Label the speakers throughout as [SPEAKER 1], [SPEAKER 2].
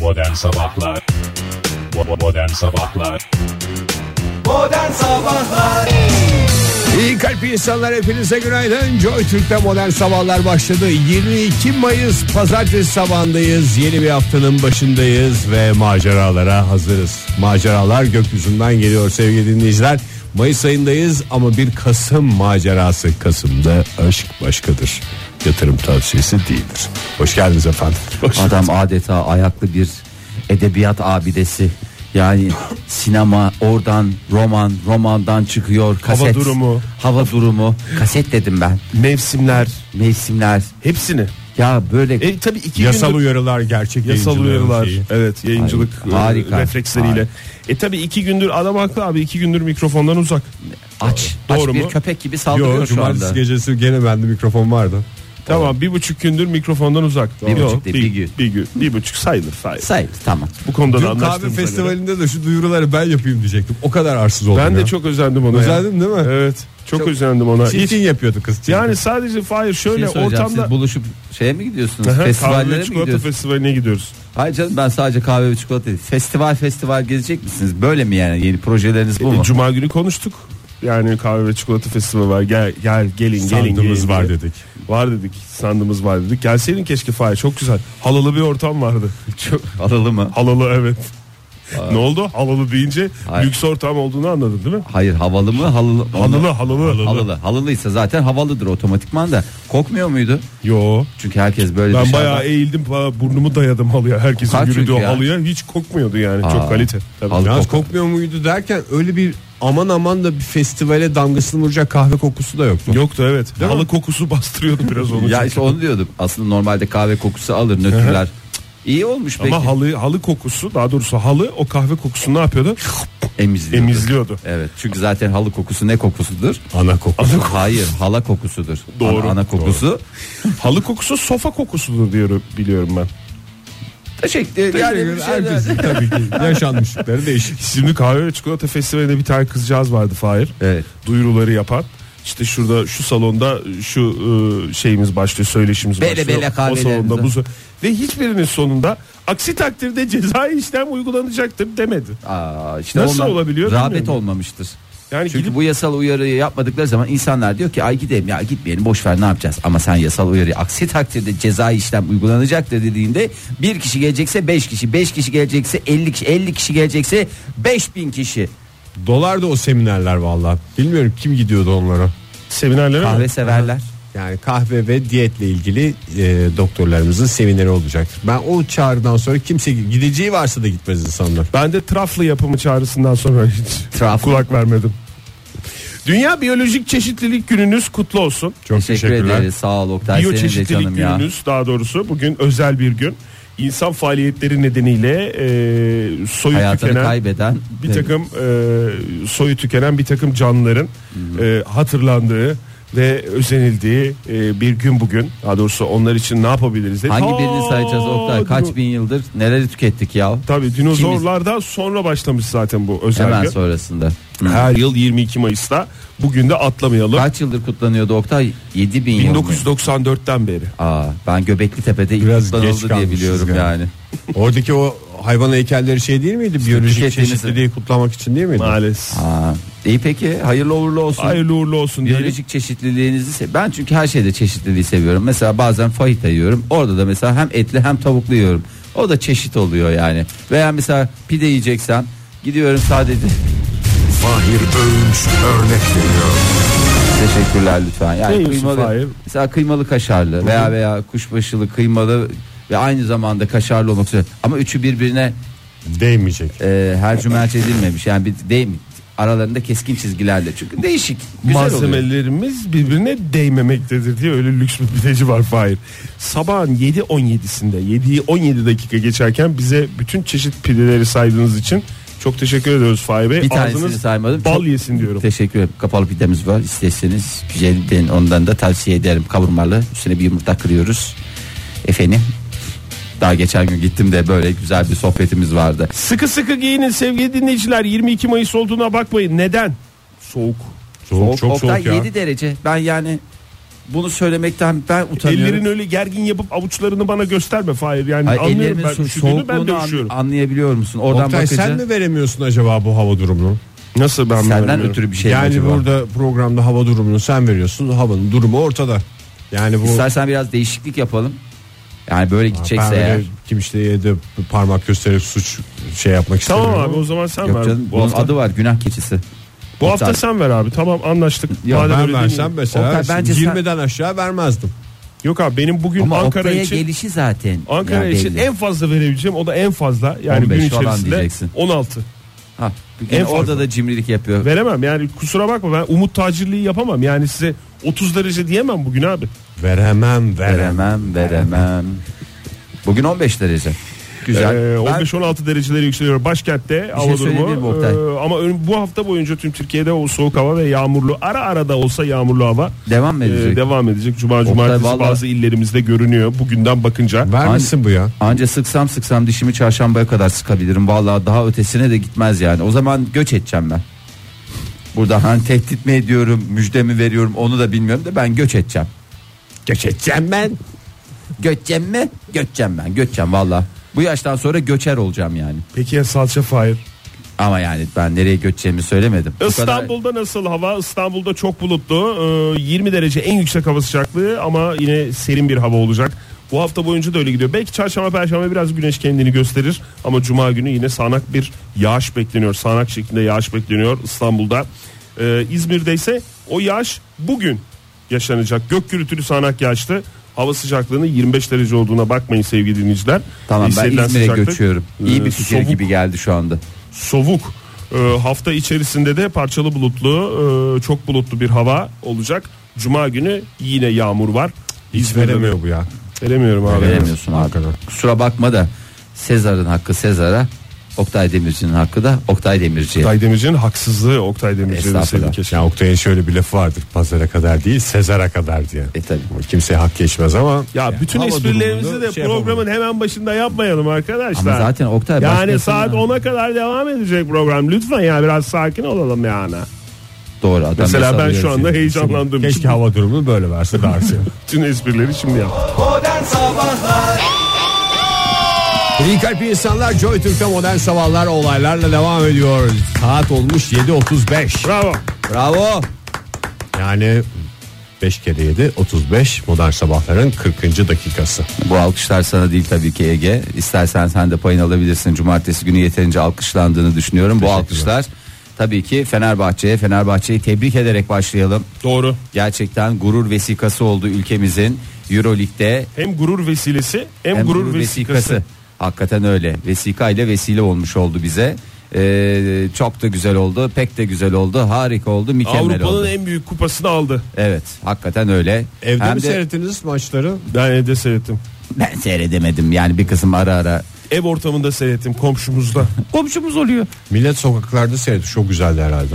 [SPEAKER 1] Modern Sabahlar Bo- Modern Sabahlar
[SPEAKER 2] Modern Sabahlar
[SPEAKER 3] İyi kalp insanlar hepinize günaydın. Joy Türk'te modern sabahlar başladı. 22 Mayıs pazartesi sabahındayız. Yeni bir haftanın başındayız ve maceralara hazırız. Maceralar gökyüzünden geliyor sevgili dinleyiciler. Mayıs ayındayız ama bir Kasım macerası. Kasım'da aşk başkadır. Yatırım tavsiyesi değildir. Hoş geldiniz efendim.
[SPEAKER 4] Adam adeta ayaklı bir edebiyat abidesi. Yani sinema oradan roman romandan çıkıyor kaset.
[SPEAKER 5] durumu.
[SPEAKER 4] Hava durumu. Kaset dedim ben.
[SPEAKER 5] mevsimler
[SPEAKER 4] Mevsimler.
[SPEAKER 5] hepsini.
[SPEAKER 4] Ya böyle
[SPEAKER 5] E tabii iki
[SPEAKER 3] Yasal
[SPEAKER 5] gündür
[SPEAKER 3] uyarılar gerçek
[SPEAKER 5] yasal
[SPEAKER 3] yayıncıların
[SPEAKER 5] uyarılar.
[SPEAKER 3] şeyi.
[SPEAKER 5] Evet, yayıncılık
[SPEAKER 4] Ay, harika,
[SPEAKER 5] e, refleksleriyle. E tabii iki gündür adam haklı abi iki gündür mikrofondan uzak.
[SPEAKER 4] aç.
[SPEAKER 5] Doğru
[SPEAKER 4] aç bir
[SPEAKER 5] mu?
[SPEAKER 4] köpek gibi saldırıyor
[SPEAKER 3] Yo,
[SPEAKER 4] şu
[SPEAKER 3] cumartesi
[SPEAKER 4] anda.
[SPEAKER 3] gecesi gene bende mikrofon vardı.
[SPEAKER 5] Tamam bir buçuk gündür mikrofondan uzak.
[SPEAKER 4] Bir
[SPEAKER 5] Yok,
[SPEAKER 4] buçuk değil, bir gün.
[SPEAKER 5] Bir gün. Bir buçuk sayılır sayılır.
[SPEAKER 4] Say tamam.
[SPEAKER 5] Bu konuda da
[SPEAKER 3] Dün kahve
[SPEAKER 5] anlaştığımıza göre.
[SPEAKER 3] festivalinde de şu duyuruları ben yapayım diyecektim. O kadar arsız oldum
[SPEAKER 5] Ben
[SPEAKER 3] ya.
[SPEAKER 5] de çok özendim ona.
[SPEAKER 3] Özendin değil mi?
[SPEAKER 5] Evet. Çok, özendim ona.
[SPEAKER 3] çirkin yapıyordu kız. çirkin.
[SPEAKER 5] Yani sadece Fahir şöyle
[SPEAKER 4] Şey soracağım,
[SPEAKER 5] ortamda
[SPEAKER 4] siz buluşup şeye mi gidiyorsunuz?
[SPEAKER 5] Aha, kahve
[SPEAKER 4] Festivallere mi
[SPEAKER 5] çikolata
[SPEAKER 4] gidiyorsunuz?
[SPEAKER 5] festivaline gidiyoruz.
[SPEAKER 4] Hayır canım ben sadece kahve ve çikolata değil. Festival festival gezecek misiniz? Böyle mi yani yeni projeleriniz bu
[SPEAKER 5] E,
[SPEAKER 4] mu?
[SPEAKER 5] Cuma günü konuştuk. Yani kahve ve çikolata festivali var. Gel gel gelin gelin.
[SPEAKER 3] Sandığımız
[SPEAKER 5] gelin
[SPEAKER 3] var
[SPEAKER 5] diye.
[SPEAKER 3] dedik.
[SPEAKER 5] Var dedik. Sandığımız var dedik. Gelseydin keşke Fahir. Çok güzel. Halalı bir ortam vardı. Çok
[SPEAKER 4] Aralı mı?
[SPEAKER 5] halalı evet. ne oldu? Halalı deyince
[SPEAKER 4] Hayır.
[SPEAKER 5] lüks ortam olduğunu anladın değil mi?
[SPEAKER 4] Hayır havalı mı? Halılı,
[SPEAKER 5] Halalı halalı.
[SPEAKER 4] Halılı. Halılıysa zaten havalıdır otomatikman da. Kokmuyor muydu?
[SPEAKER 5] Yo.
[SPEAKER 4] Çünkü herkes böyle
[SPEAKER 5] Ben
[SPEAKER 4] dışarıdan-
[SPEAKER 5] bayağı eğildim ba- burnumu dayadım halıya. Herkesin
[SPEAKER 4] Kokar
[SPEAKER 5] yürüdüğü
[SPEAKER 4] çünkü ya.
[SPEAKER 5] halıya hiç kokmuyordu yani.
[SPEAKER 4] Aa.
[SPEAKER 5] Çok kalite. Tabii.
[SPEAKER 4] Halı-
[SPEAKER 3] Yalnız
[SPEAKER 4] kokar.
[SPEAKER 3] kokmuyor muydu derken öyle bir aman aman da bir festivale damgasını vuracak kahve kokusu da yoktu.
[SPEAKER 5] Yoktu evet. halı kokusu bastırıyordu biraz onu.
[SPEAKER 4] Ya
[SPEAKER 5] çünkü.
[SPEAKER 4] işte onu diyordum. Aslında normalde kahve kokusu alır nötrler. Cık, İyi olmuş peki.
[SPEAKER 5] Ama halı halı kokusu daha doğrusu halı o kahve kokusunu ne yapıyordu?
[SPEAKER 4] emizliyordu.
[SPEAKER 5] Emizliyordu.
[SPEAKER 4] Evet. Çünkü zaten halı kokusu ne kokusudur?
[SPEAKER 3] Ana koku.
[SPEAKER 4] Hayır, hala kokusudur.
[SPEAKER 5] Doğru,
[SPEAKER 4] Ana, ana kokusu.
[SPEAKER 5] Halı kokusu sofa kokusudur diyorum biliyorum ben.
[SPEAKER 4] Teşekkür
[SPEAKER 3] Yani
[SPEAKER 4] yani bir şey şeyler-
[SPEAKER 3] herkesin tabii ki yaşanmışlıkları değişik.
[SPEAKER 5] Şimdi kahve ve çikolata festivalinde bir tane kızcağız vardı Fahir.
[SPEAKER 4] Evet.
[SPEAKER 5] Duyuruları yapan. İşte şurada şu salonda şu e, şeyimiz başlıyor söyleşimiz
[SPEAKER 4] Bele
[SPEAKER 5] başlıyor.
[SPEAKER 4] bele
[SPEAKER 5] o
[SPEAKER 4] kahvelerimiz
[SPEAKER 5] salonda
[SPEAKER 4] var.
[SPEAKER 5] bu sa- ve hiçbirinin sonunda aksi takdirde cezai işlem uygulanacaktır demedi.
[SPEAKER 4] Aa, işte
[SPEAKER 5] Nasıl
[SPEAKER 4] ondan
[SPEAKER 5] olabiliyor
[SPEAKER 4] Rağbet
[SPEAKER 5] bilmiyorum.
[SPEAKER 4] olmamıştır.
[SPEAKER 5] Yani
[SPEAKER 4] Çünkü
[SPEAKER 5] gidip
[SPEAKER 4] bu yasal uyarıyı yapmadıkları zaman insanlar diyor ki ay gidelim ya gitmeyelim boş ver ne yapacağız ama sen yasal uyarı aksi takdirde cezai işlem uygulanacaktır dediğinde bir kişi gelecekse 5 kişi 5 kişi gelecekse 50 kişi 50 kişi gelecekse 5000 kişi
[SPEAKER 3] Dolar da o seminerler vallahi. Bilmiyorum kim gidiyordu onlara.
[SPEAKER 5] seminerlere mi?
[SPEAKER 4] kahve severler.
[SPEAKER 3] Yani kahve ve diyetle ilgili e, doktorlarımızın semineri olacaktır. Ben o çağrıdan sonra kimse gideceği varsa da gitmez insanlar.
[SPEAKER 5] Ben de traflı yapımı çağrısından sonra hiç
[SPEAKER 4] Traflı.
[SPEAKER 5] kulak vermedim. Dünya Biyolojik Çeşitlilik Gününüz kutlu olsun.
[SPEAKER 3] Çok
[SPEAKER 4] Teşekkür
[SPEAKER 3] teşekkürler.
[SPEAKER 4] ederiz sağ ol Oktay senin de
[SPEAKER 5] Biyoçeşitlilik
[SPEAKER 4] canım ya.
[SPEAKER 5] gününüz daha doğrusu bugün özel bir gün. İnsan faaliyetleri nedeniyle e, soyu
[SPEAKER 4] Hayatını
[SPEAKER 5] tükenen
[SPEAKER 4] kaybeden
[SPEAKER 5] bir takım e, soyu tükenen bir takım canlıların e, hatırlandığı ve özenildiği e, bir gün bugün. Daha doğrusu onlar için ne yapabiliriz? diye.
[SPEAKER 4] Hangi
[SPEAKER 5] Ta-
[SPEAKER 4] birini sayacağız Oktay? Kaç
[SPEAKER 5] dino-
[SPEAKER 4] bin yıldır neleri tükettik ya?
[SPEAKER 5] Tabii dinozorlardan sonra başlamış zaten bu özel
[SPEAKER 4] Hemen
[SPEAKER 5] gün.
[SPEAKER 4] sonrasında. Hı.
[SPEAKER 5] Her yıl 22 Mayıs'ta bugün de atlamayalım.
[SPEAKER 4] Kaç yıldır kutlanıyordu Oktay? 7000 yıl. mı?
[SPEAKER 5] 1994'ten beri.
[SPEAKER 4] Aa, ben Göbekli Tepe'de ilk
[SPEAKER 3] Biraz geç
[SPEAKER 4] kutlanıldı diye
[SPEAKER 3] kalmışız
[SPEAKER 4] biliyorum
[SPEAKER 3] galiba.
[SPEAKER 4] yani.
[SPEAKER 3] Oradaki o hayvan heykelleri şey değil miydi? Biyolojik
[SPEAKER 4] tükettiğiniz-
[SPEAKER 3] çeşitliliği kutlamak için değil miydi?
[SPEAKER 5] Maalesef.
[SPEAKER 4] Aa, iyi peki hayırlı uğurlu olsun.
[SPEAKER 5] Hayırlı uğurlu olsun. diyelim.
[SPEAKER 4] Biyolojik çeşitliliğinizi se- ben çünkü her şeyde çeşitliliği seviyorum. Mesela bazen fajita yiyorum. Orada da mesela hem etli hem tavuklu yiyorum. O da çeşit oluyor yani. Veya mesela pide yiyeceksem gidiyorum sadece Teşekkürler lütfen.
[SPEAKER 5] Ne
[SPEAKER 4] Yani
[SPEAKER 5] yiyorsun Fahir?
[SPEAKER 4] kıymalı, mesela kıymalı kaşarlı veya veya kuşbaşılı kıymalı ve aynı zamanda kaşarlı olmak üzere. Ama üçü birbirine
[SPEAKER 3] Değmeyecek.
[SPEAKER 4] e, her cümerç edilmemiş. Yani bir değil mi? Aralarında keskin çizgilerle. Çünkü değişik. Güzel oluyor.
[SPEAKER 5] malzemelerimiz birbirine değmemektedir diye öyle lüks bir pideci var Fahir. Sabahın 7.17'sinde 7'yi 17 dakika geçerken bize bütün çeşit pideleri saydığınız için çok teşekkür ediyoruz Fahir Bey.
[SPEAKER 4] Bir tanesini
[SPEAKER 5] Ağzınız
[SPEAKER 4] saymadım.
[SPEAKER 5] Bal
[SPEAKER 4] Çok-
[SPEAKER 5] yesin diyorum.
[SPEAKER 4] Teşekkür ederim. Kapalı pidemiz var. İsterseniz güzel ben ondan da tavsiye ederim. Kavurmalı. Üstüne bir yumurta kırıyoruz. Efendim. Daha geçen gün gittim de böyle güzel bir sohbetimiz vardı.
[SPEAKER 5] Sıkı sıkı giyinin sevgili dinleyiciler 22 Mayıs olduğuna bakmayın. Neden? Soğuk.
[SPEAKER 3] Soğuk, çok
[SPEAKER 4] Oktay
[SPEAKER 3] soğuk ya.
[SPEAKER 4] 7 derece. Ben yani Bunu söylemekten ben utanıyorum.
[SPEAKER 5] Ellerini öyle gergin yapıp avuçlarını bana gösterme Fahir. Yani
[SPEAKER 4] Ay,
[SPEAKER 5] anlıyorum
[SPEAKER 4] ellerimin
[SPEAKER 5] ben
[SPEAKER 4] so-
[SPEAKER 5] üşüdüğünü ben de
[SPEAKER 4] soğukluğunu an-
[SPEAKER 5] üşüyorum.
[SPEAKER 4] anlayabiliyor musun? Oradan
[SPEAKER 3] Oktay
[SPEAKER 4] bakınca
[SPEAKER 3] sen mi veremiyorsun acaba bu hava durumunu?
[SPEAKER 5] Nasıl ben
[SPEAKER 4] senden
[SPEAKER 5] bilmiyorum.
[SPEAKER 4] ötürü bir şey mi
[SPEAKER 3] yani
[SPEAKER 4] acaba?
[SPEAKER 3] burada programda hava durumunu sen veriyorsun. Havanın durumu ortada. Yani bu
[SPEAKER 4] İstersen biraz değişiklik yapalım. Yani böyle
[SPEAKER 3] ben
[SPEAKER 4] gidecekse
[SPEAKER 3] öyle
[SPEAKER 4] eğer.
[SPEAKER 3] kim işte yedi parmak gösterip suç şey yapmak
[SPEAKER 5] Tamam
[SPEAKER 3] istemiyorum.
[SPEAKER 5] abi o zaman sen
[SPEAKER 4] Yok
[SPEAKER 5] ver.
[SPEAKER 4] canım,
[SPEAKER 5] bu
[SPEAKER 4] bunun
[SPEAKER 5] hafta,
[SPEAKER 4] adı var günah keçisi.
[SPEAKER 5] bu hafta
[SPEAKER 4] Oktay.
[SPEAKER 5] sen ver abi. Tamam anlaştık.
[SPEAKER 4] Ya
[SPEAKER 5] Madem
[SPEAKER 3] Ben
[SPEAKER 5] öyle değil
[SPEAKER 3] versem
[SPEAKER 5] mi?
[SPEAKER 3] mesela
[SPEAKER 4] Oktay, bence sen-
[SPEAKER 3] 20'den aşağı vermezdim.
[SPEAKER 5] Yok abi benim bugün
[SPEAKER 4] Ama
[SPEAKER 5] Ankara
[SPEAKER 4] Oktay'a
[SPEAKER 5] için
[SPEAKER 4] gelişi zaten.
[SPEAKER 5] Ankara
[SPEAKER 4] ya
[SPEAKER 5] için
[SPEAKER 4] belli.
[SPEAKER 5] en fazla verebileceğim o da en fazla yani
[SPEAKER 4] 15
[SPEAKER 5] gün
[SPEAKER 4] falan
[SPEAKER 5] içerisinde
[SPEAKER 4] diyeceksin.
[SPEAKER 5] 16.
[SPEAKER 4] Ha, yine
[SPEAKER 5] en
[SPEAKER 4] orada
[SPEAKER 5] fazla.
[SPEAKER 4] da cimrilik yapıyor.
[SPEAKER 5] Veremem yani kusura bakma ben umut tacirliği yapamam yani size 30 derece diyemem bugün abi.
[SPEAKER 3] Veremem veremem.
[SPEAKER 4] Veremem veremem. Bugün 15 derece. Güzel.
[SPEAKER 5] Ee,
[SPEAKER 4] Ben- şey
[SPEAKER 5] 15-16 dereceleri yükseliyor başkentte hava
[SPEAKER 4] söyleyebilir mi
[SPEAKER 5] durumu.
[SPEAKER 4] Oktay?
[SPEAKER 5] Ee, ama ön- bu hafta boyunca tüm Türkiye'de o soğuk hava ve yağmurlu ara ara da olsa yağmurlu hava
[SPEAKER 4] Devam mı
[SPEAKER 5] e,
[SPEAKER 4] edecek?
[SPEAKER 5] devam edecek. Cuma cumartesi
[SPEAKER 4] vallahi-
[SPEAKER 5] bazı illerimizde görünüyor bugünden bakınca.
[SPEAKER 3] Vermesin bu ya.
[SPEAKER 4] Anca sıksam sıksam dişimi çarşambaya kadar sıkabilirim. Vallahi daha ötesine de gitmez yani. O zaman göç edeceğim ben. Burada hani tehdit mi ediyorum, müjde mi veriyorum onu da bilmiyorum da ben göç edeceğim.
[SPEAKER 3] Geç edeceğim ben.
[SPEAKER 4] Göçeceğim mi? Göçeceğim ben. Göçeceğim valla. Bu yaştan sonra göçer olacağım yani.
[SPEAKER 5] Peki ya salça fire?
[SPEAKER 4] Ama yani ben nereye göçeceğimi söylemedim. Bu kadar-
[SPEAKER 5] İstanbul'da nasıl hava? İstanbul'da çok bulutlu. Ee, 20 derece en yüksek hava sıcaklığı ama yine serin bir hava olacak. Bu hafta boyunca da öyle gidiyor. Belki çarşamba perşembe biraz güneş kendini gösterir ama cuma günü yine sağanak bir yağış bekleniyor. Sağanak şeklinde yağış bekleniyor İstanbul'da. Ee, İzmir'de ise o yağış bugün yaşanacak. Gök gürültülü sağanak yağıştı. Hava sıcaklığının 25 derece olduğuna bakmayın sevgili dinleyiciler.
[SPEAKER 4] Tamam ben
[SPEAKER 5] Hissedilen
[SPEAKER 4] İzmir'e
[SPEAKER 5] sıcaklık,
[SPEAKER 4] göçüyorum. İyi
[SPEAKER 5] e,
[SPEAKER 4] bir fikir
[SPEAKER 5] soğuk
[SPEAKER 4] gibi geldi şu anda.
[SPEAKER 5] soğuk. Ee, hafta içerisinde de parçalı bulutlu, e, çok bulutlu bir hava olacak. Cuma günü yine yağmur var.
[SPEAKER 3] Hiç
[SPEAKER 5] İzmir'de de-
[SPEAKER 3] veremiyor bu ya.
[SPEAKER 5] Veremiyorum abi.
[SPEAKER 4] Veremiyorsun abi.
[SPEAKER 3] Hakikaten.
[SPEAKER 4] Kusura bakma da Sezar'ın hakkı Sezar'a, Oktay Demirci'nin hakkı da Oktay Demirci'ye.
[SPEAKER 5] Oktay Demirci'nin haksızlığı Oktay Demirci'nin
[SPEAKER 4] Estağfurullah.
[SPEAKER 5] sevdiği keşke.
[SPEAKER 3] Ya Oktay'ın şöyle bir lafı vardır. Pazara kadar değil Sezar'a kadar diye.
[SPEAKER 4] E tabi.
[SPEAKER 3] Kimseye hak geçmez ama. şey,
[SPEAKER 5] Ya bütün
[SPEAKER 3] hava
[SPEAKER 5] esprilerimizi
[SPEAKER 3] durumunda
[SPEAKER 5] de
[SPEAKER 3] şey yapamam.
[SPEAKER 5] programın hemen başında yapmayalım arkadaşlar.
[SPEAKER 4] Ama zaten Oktay
[SPEAKER 5] yani
[SPEAKER 4] başkasına-
[SPEAKER 5] saat 10'a kadar devam edecek program. Lütfen ya biraz sakin olalım yani.
[SPEAKER 4] Doğru adam
[SPEAKER 5] Mesela ben
[SPEAKER 4] yasalıyor
[SPEAKER 5] şu anda
[SPEAKER 4] seni.
[SPEAKER 5] heyecanlandım.
[SPEAKER 3] Keşke hava durumunu böyle verse daha güzel.
[SPEAKER 5] Bütün esprileri şimdi yap.
[SPEAKER 2] Modern Sabahlar
[SPEAKER 3] İyi kalp insanlar Joy Türk'te modern sabahlar olaylarla devam ediyor. Saat olmuş 7.35.
[SPEAKER 5] Bravo.
[SPEAKER 4] Bravo.
[SPEAKER 3] Yani 5 kere 7 35 modern sabahların 40. dakikası.
[SPEAKER 4] Bu alkışlar sana değil tabii ki Ege. İstersen sen de payını alabilirsin. Cumartesi günü yeterince alkışlandığını düşünüyorum. Bu alkışlar tabii ki Fenerbahçe'ye, Fenerbahçe'yi tebrik ederek başlayalım.
[SPEAKER 5] Doğru.
[SPEAKER 4] Gerçekten gurur vesikası oldu ülkemizin Euroleague'de
[SPEAKER 5] Hem gurur vesilesi hem,
[SPEAKER 4] hem
[SPEAKER 5] gurur vesikası.
[SPEAKER 4] Hakikaten öyle. Vesika ile vesile olmuş oldu bize. Ee, çok da güzel oldu. Pek de güzel oldu. Harika oldu. Mükemmel
[SPEAKER 5] Avrupa'nın
[SPEAKER 4] oldu.
[SPEAKER 5] en büyük kupasını aldı.
[SPEAKER 4] Evet. Hakikaten öyle.
[SPEAKER 3] Evde
[SPEAKER 4] Hem
[SPEAKER 3] mi
[SPEAKER 4] de-
[SPEAKER 3] seyrettiniz maçları?
[SPEAKER 5] Ben evde seyrettim.
[SPEAKER 4] Ben seyredemedim. Yani bir kısım ara ara.
[SPEAKER 5] Ev ortamında seyrettim komşumuzda.
[SPEAKER 4] Komşumuz oluyor.
[SPEAKER 3] Millet sokaklarda seyretti. Çok güzeldi herhalde.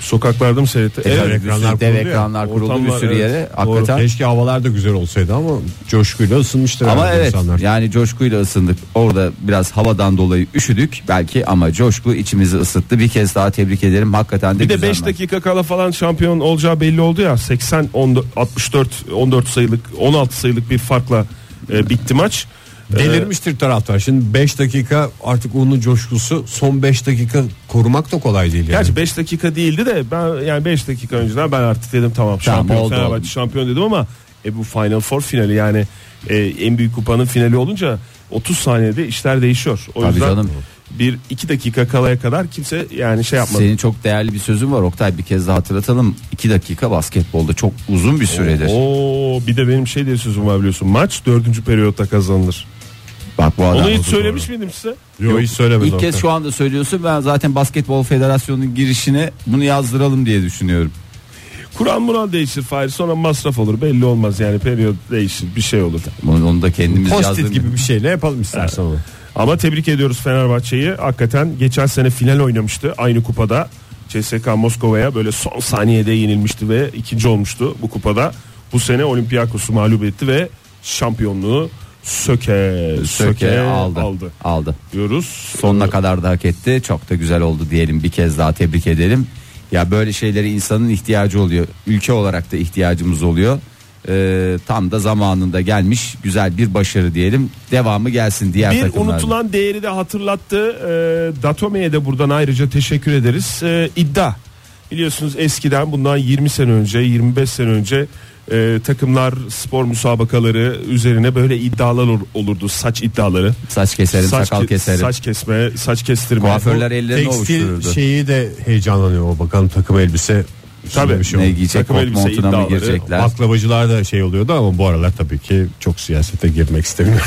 [SPEAKER 5] Sokaklarda mı seyrettim?
[SPEAKER 4] Evet,
[SPEAKER 5] Ev-
[SPEAKER 3] tabii. ekranlar
[SPEAKER 4] dev
[SPEAKER 3] kuruldu ya.
[SPEAKER 4] ekranlar kuruldu bir
[SPEAKER 5] Ortamlar,
[SPEAKER 4] sürü
[SPEAKER 5] evet.
[SPEAKER 4] yere.
[SPEAKER 5] Doğru.
[SPEAKER 4] Hakikaten.
[SPEAKER 3] Keşke havalar da güzel olsaydı ama coşkuyla ısınmıştır
[SPEAKER 4] Ama
[SPEAKER 3] herhalde
[SPEAKER 4] evet
[SPEAKER 3] insanlar.
[SPEAKER 4] yani coşkuyla ısındık. Orada biraz havadan dolayı üşüdük belki ama coşku içimizi ısıttı. Bir kez daha tebrik ederim. Hakikaten de
[SPEAKER 5] Bir de
[SPEAKER 4] güzel
[SPEAKER 5] 5
[SPEAKER 4] maç.
[SPEAKER 5] dakika kala falan şampiyon olacağı belli oldu ya. 80 14 64 14 sayılık 16 sayılık bir farkla e, bitti maç. E,
[SPEAKER 3] Delirmiştir taraftar. Şimdi 5 dakika artık onun coşkusu son 5 dakika korumak da kolay değil yani.
[SPEAKER 5] Gerçi 5 dakika değildi de ben yani 5 dakika önceden ben artık dedim tamam, şampiyon
[SPEAKER 4] oldu,
[SPEAKER 5] Fenerbahçe
[SPEAKER 4] oldu.
[SPEAKER 5] şampiyon dedim ama e, bu Final Four finali yani e, en büyük kupanın finali olunca 30 saniyede işler değişiyor. O
[SPEAKER 4] Tabii
[SPEAKER 5] yüzden
[SPEAKER 4] canım.
[SPEAKER 5] bir 2 dakika kalaya kadar kimse yani şey yapmadı.
[SPEAKER 4] Senin çok değerli bir sözün var Oktay bir kez daha hatırlatalım. 2 dakika basketbolda çok uzun bir süredir.
[SPEAKER 5] Oo bir de benim şey diye sözüm var biliyorsun. Maç dördüncü periyotta kazanılır.
[SPEAKER 4] Bak bu adam.
[SPEAKER 5] Onu hiç söylemiş miydim size?
[SPEAKER 3] Yok, hiç söylemedim.
[SPEAKER 4] İlk kez şu anda söylüyorsun. Ben zaten Basketbol Federasyonu'nun girişine bunu yazdıralım diye düşünüyorum.
[SPEAKER 5] Kur'an Mural değişir Fahir sonra masraf olur belli olmaz yani periyot değişir bir şey olur.
[SPEAKER 4] Onu, onu da kendimiz
[SPEAKER 3] Post-it
[SPEAKER 4] yazdığımız-
[SPEAKER 3] gibi bir şeyle yapalım istersen onu.
[SPEAKER 5] Ama tebrik ediyoruz Fenerbahçe'yi. Hakikaten geçen sene final oynamıştı aynı kupada. CSKA Moskova'ya böyle son saniyede yenilmişti ve ikinci olmuştu bu kupada. Bu sene Olympiakos'u mağlup etti ve şampiyonluğu söke söke,
[SPEAKER 4] söke aldı.
[SPEAKER 5] aldı. aldı
[SPEAKER 4] Aldı.
[SPEAKER 5] diyoruz.
[SPEAKER 4] Sonuna kadar da hak etti. Çok da güzel oldu diyelim. Bir kez daha tebrik edelim. Ya böyle şeylere insanın ihtiyacı oluyor. Ülke olarak da ihtiyacımız oluyor. Ee, tam da zamanında gelmiş güzel bir başarı diyelim. Devamı gelsin diğer
[SPEAKER 5] Bir
[SPEAKER 4] takımlarda.
[SPEAKER 5] unutulan değeri de hatırlattı. E, Datome'ye de buradan ayrıca teşekkür ederiz. E, iddia. Biliyorsunuz eskiden bundan 20 sene önce 25 sene önce e, takımlar spor müsabakaları üzerine böyle iddialar ol- olurdu. Saç iddiaları.
[SPEAKER 4] Saç keserim, sakal
[SPEAKER 5] ke-
[SPEAKER 4] keserim.
[SPEAKER 5] Saç kesme, saç kestirme.
[SPEAKER 4] Kuaförler ellerini
[SPEAKER 3] Tekstil
[SPEAKER 4] ovuştururdu.
[SPEAKER 3] şeyi de heyecanlanıyor o bakalım takım elbise. üstüne
[SPEAKER 5] Tabii.
[SPEAKER 3] bir şey
[SPEAKER 4] ne
[SPEAKER 3] oldu.
[SPEAKER 4] giyecek,
[SPEAKER 5] takım
[SPEAKER 4] kot
[SPEAKER 5] elbise
[SPEAKER 4] montuna mı
[SPEAKER 5] iddiaları,
[SPEAKER 4] girecekler?
[SPEAKER 3] Baklavacılar da şey oluyordu ama bu aralar tabii ki çok siyasete girmek istemiyorum.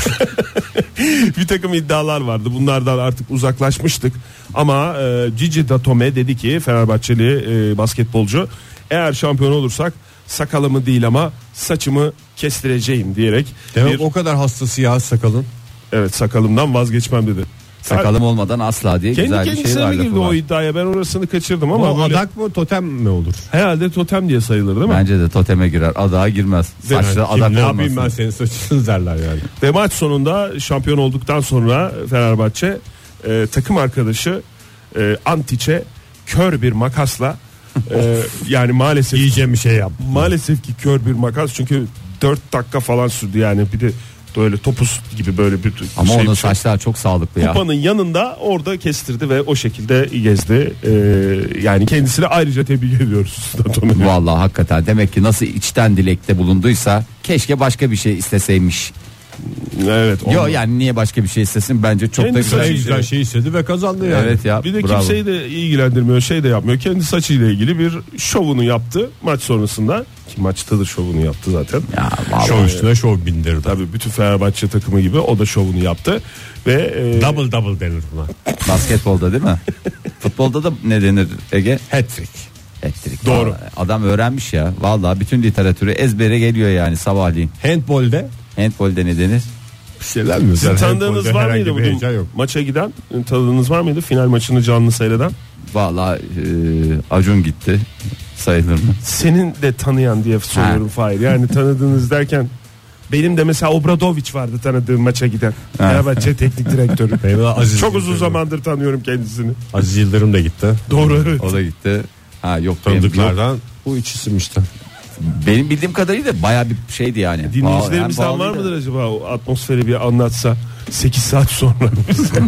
[SPEAKER 5] bir takım iddialar vardı. Bunlardan artık uzaklaşmıştık. Ama e, Cici Datome dedi ki Fenerbahçeli e, basketbolcu eğer şampiyon olursak sakalımı değil ama saçımı kestireceğim diyerek
[SPEAKER 3] Demek
[SPEAKER 5] bir,
[SPEAKER 3] o kadar hastası ya sakalın.
[SPEAKER 5] evet sakalımdan vazgeçmem dedi.
[SPEAKER 4] Sakalım olmadan asla diye
[SPEAKER 5] kendi
[SPEAKER 4] güzel bir şey
[SPEAKER 5] kendisine
[SPEAKER 4] var.
[SPEAKER 5] mi girdi
[SPEAKER 4] lafı var.
[SPEAKER 5] o iddiaya ben orasını kaçırdım
[SPEAKER 3] Ama
[SPEAKER 5] ama böyle,
[SPEAKER 3] adak mı totem mi olur?
[SPEAKER 5] herhalde totem diye sayılır değil mi?
[SPEAKER 4] Bence de toteme girer. Adağa girmez. Saçlı
[SPEAKER 3] Kim
[SPEAKER 4] adak
[SPEAKER 3] ne yapayım ben
[SPEAKER 4] olmasın.
[SPEAKER 3] senin saçını derler yani.
[SPEAKER 5] Ve maç sonunda şampiyon olduktan sonra Fenerbahçe e, takım arkadaşı e, Antiç'e kör bir makasla e, yani maalesef
[SPEAKER 3] Yiyeceğim bir şey yap.
[SPEAKER 5] Maalesef ki kör bir makas çünkü 4 dakika falan sürdü yani bir de böyle topuz gibi böyle bir
[SPEAKER 4] Ama
[SPEAKER 5] şey-
[SPEAKER 4] onun
[SPEAKER 5] şey-
[SPEAKER 4] saçlar çok sağlıklı ya.
[SPEAKER 5] Kupanın yanında orada kestirdi ve o şekilde gezdi. Ee, yani kendisine ayrıca tebrik ediyoruz. Datome'yi.
[SPEAKER 4] Vallahi hakikaten demek ki nasıl içten dilekte bulunduysa keşke başka bir şey isteseymiş.
[SPEAKER 5] evet.
[SPEAKER 4] Yo
[SPEAKER 5] onunla-
[SPEAKER 4] yani niye başka bir şey istesin bence çok da
[SPEAKER 5] Kendisi
[SPEAKER 4] güzel.
[SPEAKER 3] En
[SPEAKER 4] bir şey.
[SPEAKER 3] güzel şey istedi ve kazandı yani.
[SPEAKER 4] Evet ya.
[SPEAKER 5] Bir de
[SPEAKER 4] bravo.
[SPEAKER 5] kimseyi de ilgilendirmiyor, şey de yapmıyor. Kendi saçıyla ilgili bir şovunu yaptı maç sonrasında. Ki maçta da şovunu yaptı zaten.
[SPEAKER 4] Ya vallahi.
[SPEAKER 3] Şov üstüne şov bindirdi.
[SPEAKER 5] Tabii bütün Fenerbahçe takımı gibi o da şovunu yaptı ve e,
[SPEAKER 3] Double double denir buna.
[SPEAKER 4] Basketbolda değil mi? Futbolda da ne denir Ege?
[SPEAKER 3] Hat-trick.
[SPEAKER 4] Elektrik.
[SPEAKER 5] Doğru.
[SPEAKER 4] Vallahi Adam öğrenmiş ya. Vallahi bütün literatürü ezbere geliyor yani sabahleyin.
[SPEAKER 3] Handbolde
[SPEAKER 4] Handbolde ne denir?
[SPEAKER 3] bir şeyler mi?
[SPEAKER 5] Sizin tanıdığınız var mıydı
[SPEAKER 3] bu?
[SPEAKER 5] bugün maça giden? Tanıdığınız var mıydı final maçını canlı seyreden?
[SPEAKER 4] Vallahi e, Acun gitti sayılır mı?
[SPEAKER 5] Senin de tanıyan diye soruyorum Fahir. Yani tanıdığınız derken benim de mesela Obradoviç vardı tanıdığım maça giden. Fenerbahçe teknik direktörü.
[SPEAKER 3] Benim de Aziz
[SPEAKER 5] Çok uzun
[SPEAKER 3] Yıldırım.
[SPEAKER 5] zamandır tanıyorum kendisini.
[SPEAKER 3] Aziz Yıldırım da gitti.
[SPEAKER 5] Doğru evet.
[SPEAKER 4] O da gitti. Ha yok benim- yok.
[SPEAKER 3] Tanıdıklardan bu ikisi işte.
[SPEAKER 4] Benim bildiğim kadarıyla baya bir şeydi yani. Pahalı-
[SPEAKER 5] Dinleyicilerimizden
[SPEAKER 4] hem
[SPEAKER 5] var
[SPEAKER 4] pahalıydı.
[SPEAKER 5] mıdır acaba o atmosferi bir anlatsa 8 saat sonra bize.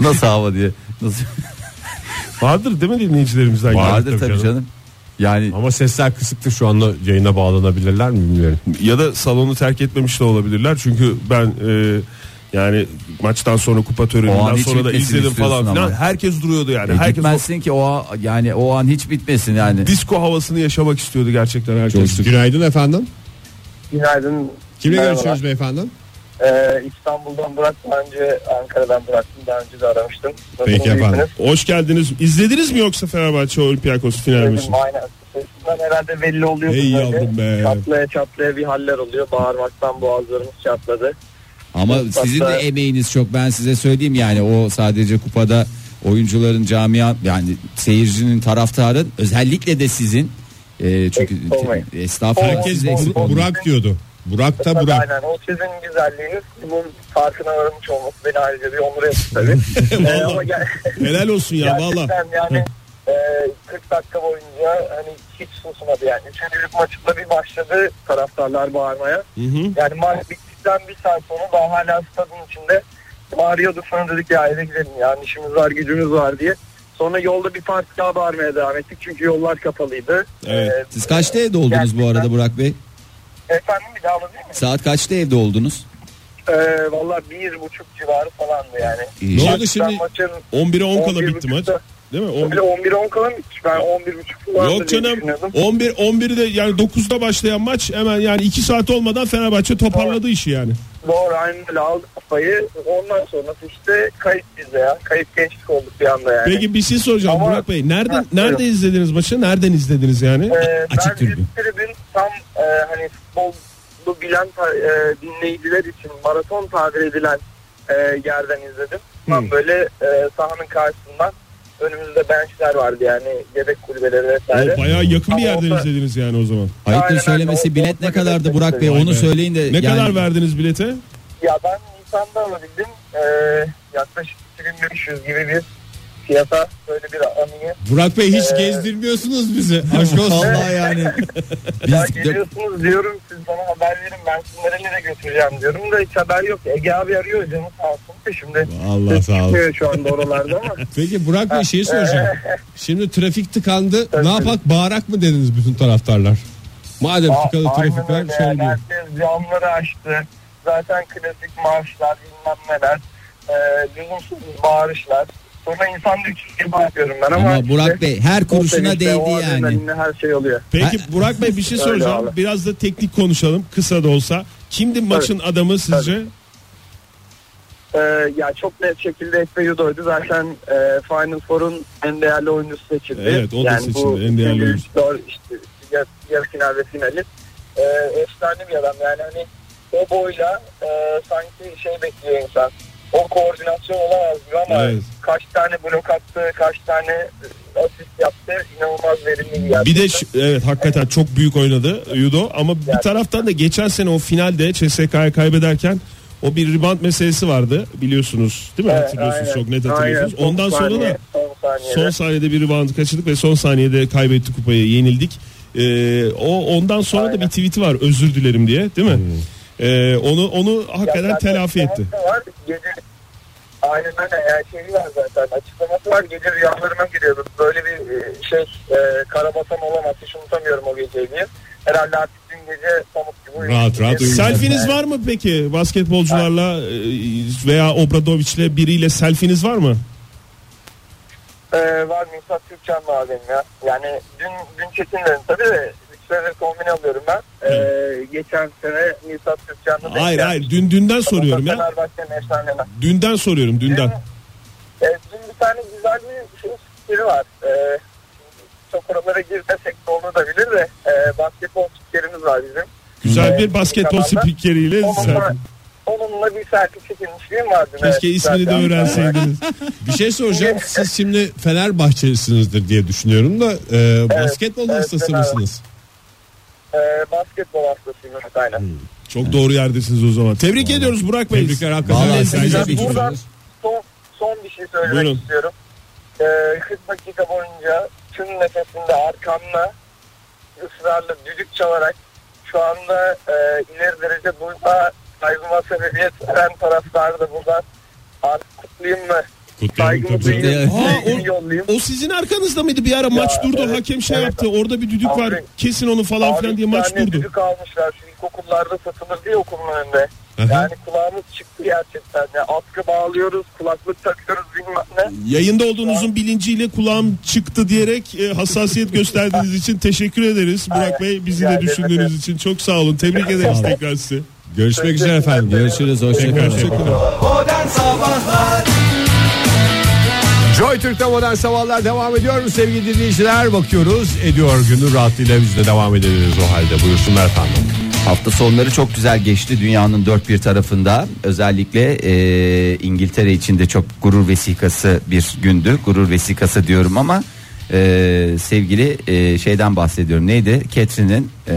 [SPEAKER 4] Nasıl hava diye. Nasıl?
[SPEAKER 5] Vardır değil mi dinleyicilerimizden?
[SPEAKER 3] Var.
[SPEAKER 4] Vardır
[SPEAKER 3] tabii
[SPEAKER 4] tabii canım.
[SPEAKER 3] canım.
[SPEAKER 4] Yani
[SPEAKER 3] Ama sesler kısıktır şu anda yayına bağlanabilirler mi bilmiyorum.
[SPEAKER 5] Ya da salonu terk etmemiş de olabilirler. Çünkü ben e, yani maçtan sonra kupa
[SPEAKER 4] O an
[SPEAKER 5] töreninden
[SPEAKER 4] hiç
[SPEAKER 5] sonra da
[SPEAKER 4] bitmesini
[SPEAKER 5] izledim falan
[SPEAKER 4] istiyorsun
[SPEAKER 5] filan.
[SPEAKER 4] ama.
[SPEAKER 5] Herkes duruyordu yani.
[SPEAKER 4] e,
[SPEAKER 5] herkes o
[SPEAKER 4] gitmezsin ki o a- yani o an hiç bitmesin yani.
[SPEAKER 5] disko havasını yaşamak istiyordu gerçekten herkes.
[SPEAKER 3] Günaydın efendim.
[SPEAKER 6] Günaydın.
[SPEAKER 3] Kimle
[SPEAKER 6] Merhaba.
[SPEAKER 3] görüşüyoruz beyefendi?
[SPEAKER 6] Ee, İstanbul'dan Burak daha önce Ankara'dan bıraktım daha önce de aramıştım. Nasılsınız,
[SPEAKER 3] Peki efendim.
[SPEAKER 6] iyisiniz?
[SPEAKER 5] Hoş geldiniz. İzlediniz mi yoksa Fenerbahçe Olympiakos final
[SPEAKER 6] Dedim,
[SPEAKER 5] maçını?
[SPEAKER 6] Ee, aynen. Sesinden herhalde belli oluyor.
[SPEAKER 5] Ey
[SPEAKER 6] böyle.
[SPEAKER 5] yavrum be.
[SPEAKER 6] Çatlaya çatlaya bir haller oluyor. Bağırmaktan boğazlarımız çatladı.
[SPEAKER 4] Ama
[SPEAKER 6] Hatta-
[SPEAKER 4] sizin de emeğiniz çok ben size söyleyeyim yani o sadece kupada oyuncuların camia yani seyircinin taraftarın özellikle de sizin e, çünkü
[SPEAKER 6] Eksik olmayın.
[SPEAKER 4] estağfurullah
[SPEAKER 6] Herkes
[SPEAKER 4] siz eksik
[SPEAKER 6] Bur-
[SPEAKER 4] olmayın.
[SPEAKER 3] Burak diyordu. Burak da
[SPEAKER 6] Tabii
[SPEAKER 3] Burak.
[SPEAKER 6] Aynen o sizin güzelliğiniz. Bunun farkına varmış olması beni ayrıca bir onur etti tabii. ee, ama ger-
[SPEAKER 5] Helal olsun ya valla.
[SPEAKER 6] gerçekten yani e, 40 dakika boyunca hani hiç susmadı yani. Üçüncülük maçında bir başladı taraftarlar bağırmaya. Yani maç bittikten bir saat sonra ben hala stadın içinde bağırıyordu. Sonra dedik ya eve gidelim yani işimiz var gücümüz var diye. Sonra yolda bir parti daha bağırmaya devam ettik çünkü yollar kapalıydı.
[SPEAKER 5] Evet.
[SPEAKER 6] Ee,
[SPEAKER 4] Siz kaçta evde oldunuz bu arada Burak Bey?
[SPEAKER 6] E, efendim bir daha alabilir miyim?
[SPEAKER 4] Saat kaçta evde oldunuz?
[SPEAKER 6] Ee, Valla bir buçuk civarı falandı yani.
[SPEAKER 3] Ne oldu
[SPEAKER 6] Ben
[SPEAKER 5] şimdi?
[SPEAKER 6] Maçın
[SPEAKER 5] 11'e 10 kala
[SPEAKER 6] 11
[SPEAKER 5] bitti maç.
[SPEAKER 6] buçukta-
[SPEAKER 5] Değil mi?
[SPEAKER 6] Bir de 11-10 kalan bitmiş. Ben 11.30
[SPEAKER 5] On-
[SPEAKER 6] falan
[SPEAKER 5] Yok canım. 11 11'de yani 9'da başlayan maç hemen yani 2 saat olmadan Fenerbahçe toparladı işi yani.
[SPEAKER 6] Doğru aynen öyle aldı kafayı. Ondan sonrası işte kayıp bizde ya. Kayıp gençlik olduk bir anda yani.
[SPEAKER 5] Peki bir şey soracağım
[SPEAKER 6] Ama-
[SPEAKER 5] Burak Bey. Nereden
[SPEAKER 6] Ha,
[SPEAKER 5] nerede izlediniz maçı? Nereden izlediniz yani?
[SPEAKER 6] Ee,
[SPEAKER 4] Açık
[SPEAKER 6] ben
[SPEAKER 4] tribün.
[SPEAKER 6] bir tribün tam e, hani futbolu bilen ta- e, dinleyiciler için maraton tabir edilen e, yerden izledim. Tam böyle e, sahanın karşısından önümüzde benchler vardı yani yedek kulübeleri vesaire.
[SPEAKER 5] O bayağı yakın bir
[SPEAKER 6] Ama
[SPEAKER 5] yerden
[SPEAKER 6] orada-
[SPEAKER 5] izlediniz yani o zaman.
[SPEAKER 4] Ayıptır
[SPEAKER 6] Aynen,
[SPEAKER 4] söylemesi
[SPEAKER 6] aynen.
[SPEAKER 4] bilet ne kadardı Burak Bey
[SPEAKER 6] Vay
[SPEAKER 4] onu
[SPEAKER 5] be.
[SPEAKER 4] söyleyin de.
[SPEAKER 5] Ne
[SPEAKER 4] yani-
[SPEAKER 5] kadar verdiniz bilete?
[SPEAKER 6] Ya ben Nisan'da alabildim. E, yaklaşık 2500 gibi bir fiyata böyle bir anıyı.
[SPEAKER 7] Burak Bey hiç gezdirmiyorsunuz bizi. Aşk olsun.
[SPEAKER 6] Vallahi
[SPEAKER 7] yani.
[SPEAKER 6] Ya geliyorsunuz diyorum siz bana haber verin ben sizi nerelere götüreceğim diyorum da hiç haber yok. Ege abi arıyor canım sağ olsun da şimdi.
[SPEAKER 7] Allah sağ olsun.
[SPEAKER 6] Çıkmıyor şu anda oralarda ama.
[SPEAKER 7] Peki Burak Bey şeyi soracağım. Şimdi trafik tıkandı. ne yapak bağırak mı dediniz bütün taraftarlar? Madem
[SPEAKER 6] A-
[SPEAKER 7] tıkalı
[SPEAKER 6] aynen
[SPEAKER 7] trafik var
[SPEAKER 6] öyle
[SPEAKER 3] şey
[SPEAKER 7] şöyle
[SPEAKER 6] yani.
[SPEAKER 7] diyor.
[SPEAKER 6] Herkes camları açtı. Zaten klasik marşlar bilmem neler. E, lüzumsuz bağırışlar. Sonra insan diyor ki "Kim bağırıyorum ben ama.
[SPEAKER 8] Ama Burak
[SPEAKER 6] işte
[SPEAKER 8] Bey her
[SPEAKER 6] o
[SPEAKER 8] kuruşuna
[SPEAKER 6] sevinçle,
[SPEAKER 8] değdi
[SPEAKER 6] o
[SPEAKER 8] yani.
[SPEAKER 6] adrenalinle Her şey oluyor.
[SPEAKER 8] Ha-
[SPEAKER 5] Peki Burak Bey bir şey
[SPEAKER 6] Öyle
[SPEAKER 5] soracağım.
[SPEAKER 6] abi.
[SPEAKER 5] Biraz da teknik konuşalım kısa da olsa. Kimdi maçın adamı sizce?
[SPEAKER 6] Ee, ya çok net şekilde Efe Yudo'ydu. Zaten e, Final Four'un en değerli oyuncusu seçildi.
[SPEAKER 5] Evet, o da seçildi,
[SPEAKER 6] bu
[SPEAKER 5] en değerli
[SPEAKER 6] üçüncü,
[SPEAKER 5] oyuncu.
[SPEAKER 6] dör- işte, yarı, yarı final ve finali. Ee, efsane bir adam yani hani o boyla e, sanki şey bekliyor insan. O koordinasyon olamaz gibi ama
[SPEAKER 5] Evet.
[SPEAKER 6] kaç tane blok attı, kaç tane e, asist yaptı. inanılmaz verimli bir yer.
[SPEAKER 5] Bir de şu- evet hakikaten çok büyük oynadı Yudo ama bir taraftan da geçen sene o finalde CSK'ya kaybederken o bir rebound meselesi vardı biliyorsunuz değil mi?
[SPEAKER 6] Evet,
[SPEAKER 5] hatırlıyorsunuz
[SPEAKER 6] aynen,
[SPEAKER 5] çok net hatırlıyorsunuz.
[SPEAKER 6] aynen. Son
[SPEAKER 5] Ondan sonra
[SPEAKER 6] saniye,
[SPEAKER 5] da
[SPEAKER 6] son saniyede.
[SPEAKER 5] son saniyede bir rebound kaçırdık ve son saniyede kaybetti kupayı yenildik. Ee, o ondan sonra da bir tweet'i var özür dilerim diye değil mi? Ee, onu onu hakikaten
[SPEAKER 6] zaten
[SPEAKER 5] telafi etti.
[SPEAKER 6] açıklaması Var, gece Aynen öyle yani şeyi var zaten açıklaması var gece rüyalarıma giriyordu böyle bir e, şey e, karabasan olamaz hiç unutamıyorum o geceyi diye herhalde artık dün gece pamuk gibi uyudum.
[SPEAKER 7] Rahat rahat
[SPEAKER 5] Hmm.
[SPEAKER 7] uyuyacağım.
[SPEAKER 5] Selfiniz var mı peki basketbolcularla e, veya Obradovic'le biriyle selfiniz var mı?
[SPEAKER 6] Ee, var Misat Türkcan var benim ya yani dün, dün çekinmedim tabii de 3 senedir kombine alıyorum ben Ee, geçen sene Misat Türkcan'la denk
[SPEAKER 5] Hayır
[SPEAKER 6] geldim.
[SPEAKER 5] hayır dün dünden
[SPEAKER 6] Ondan
[SPEAKER 5] soruyorum ya.
[SPEAKER 6] Fenerbahçe'nin efsaneler.
[SPEAKER 5] Dünden soruyorum dünden.
[SPEAKER 6] E, dün bir tane güzel bir şey fikri var. E, çok oralara girmesek de onu da bilir de e, basketbol spikerimiz var bizim.
[SPEAKER 5] Güzel
[SPEAKER 6] Ee,
[SPEAKER 5] bir basketbol
[SPEAKER 6] zamanda
[SPEAKER 5] spikeriyle
[SPEAKER 6] Onunla,
[SPEAKER 5] selfie.
[SPEAKER 6] onunla bir selfie çekilmişliğim vardı.
[SPEAKER 5] Keşke
[SPEAKER 6] Evet,
[SPEAKER 5] ismini de
[SPEAKER 6] zaten.
[SPEAKER 5] öğrenseydiniz.
[SPEAKER 7] Bir şey soracağım. Siz şimdi Fenerbahçelisinizdir diye düşünüyorum da e, basketbol
[SPEAKER 6] evet,
[SPEAKER 7] hastası
[SPEAKER 6] Fener-
[SPEAKER 7] mısınız?
[SPEAKER 6] E, basketbol hastasıyım evet, aynen.
[SPEAKER 5] Çok doğru yerdesiniz o zaman. Tebrik ediyoruz Burak Bey.
[SPEAKER 7] Tebrikler
[SPEAKER 8] Vallahi
[SPEAKER 7] hakikaten.
[SPEAKER 8] siz-
[SPEAKER 7] Sen-
[SPEAKER 8] Güzel bir
[SPEAKER 6] Buradan
[SPEAKER 8] çocuk.
[SPEAKER 6] son, son bir şey söylemek
[SPEAKER 5] Buyurun.
[SPEAKER 6] istiyorum. E, 40 dakika boyunca tüm nefesinde arkamla ısrarla düdük çalarak şu anda e, ileri derece duyma kaygıma sebebiyet veren taraftarı da buradan artık kutlayayım mı?
[SPEAKER 7] Kutlayalım
[SPEAKER 6] Saygımı
[SPEAKER 7] tabii canım.
[SPEAKER 6] duyayım,
[SPEAKER 5] Aa, o-
[SPEAKER 6] sevgimi yollayayım.
[SPEAKER 5] O sizin arkanızda mıydı bir ara maç durdu
[SPEAKER 6] evet,
[SPEAKER 5] hakem şey
[SPEAKER 6] evet.
[SPEAKER 5] yaptı orada bir düdük
[SPEAKER 6] Abi-
[SPEAKER 5] var kesin onu falan
[SPEAKER 6] Abi
[SPEAKER 5] filan diye
[SPEAKER 6] bir
[SPEAKER 5] maç
[SPEAKER 6] tane
[SPEAKER 5] durdu.
[SPEAKER 6] Düdük almışlar şu ilkokullarda satılır diye okulun önünde.
[SPEAKER 5] Aha.
[SPEAKER 6] Yani kulağımız çıktı gerçekten. Yani atkı bağlıyoruz, kulaklık takıyoruz bilmem ne.
[SPEAKER 5] Yayında olduğunuzun bilinciyle kulağım çıktı diyerek e, hassasiyet gösterdiğiniz için teşekkür ederiz Burak Bey. Bizi
[SPEAKER 6] rica
[SPEAKER 5] de
[SPEAKER 6] ederim.
[SPEAKER 5] düşündüğünüz için çok sağ olun. Tebrik ederiz tekrar sizi.
[SPEAKER 7] Görüşmek üzere efendim.
[SPEAKER 8] Görüşürüz hoşçakalın.
[SPEAKER 2] Modern Sabahlar
[SPEAKER 3] Joy Türk'te modern sabahlar devam ediyor mu sevgili dinleyiciler? Bakıyoruz ediyor günü rahatlığıyla biz de devam edebiliriz o halde. Buyursunlar efendim.
[SPEAKER 4] Hafta sonları çok güzel geçti dünyanın dört bir tarafında. Özellikle e, İngiltere için de çok gurur vesikası bir gündü. Gurur vesikası diyorum ama e, sevgili e, şeyden bahsediyorum. Neydi? Catherine'in e,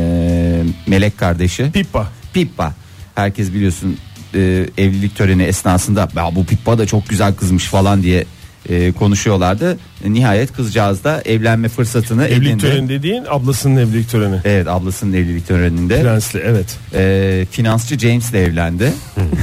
[SPEAKER 4] melek kardeşi.
[SPEAKER 5] Pippa.
[SPEAKER 4] Pippa. Herkes biliyorsun e, evlilik töreni esnasında ya bu Pippa da çok güzel kızmış falan diye e, konuşuyorlardı. E, Nihayet kızcağız da evlenme fırsatını
[SPEAKER 5] Evlilik
[SPEAKER 4] edindi.
[SPEAKER 5] töreni dediğin ablasının evlilik töreni.
[SPEAKER 4] Evet ablasının evlilik töreninde.
[SPEAKER 5] Prensli evet.
[SPEAKER 4] Ee, finansçı James ile evlendi.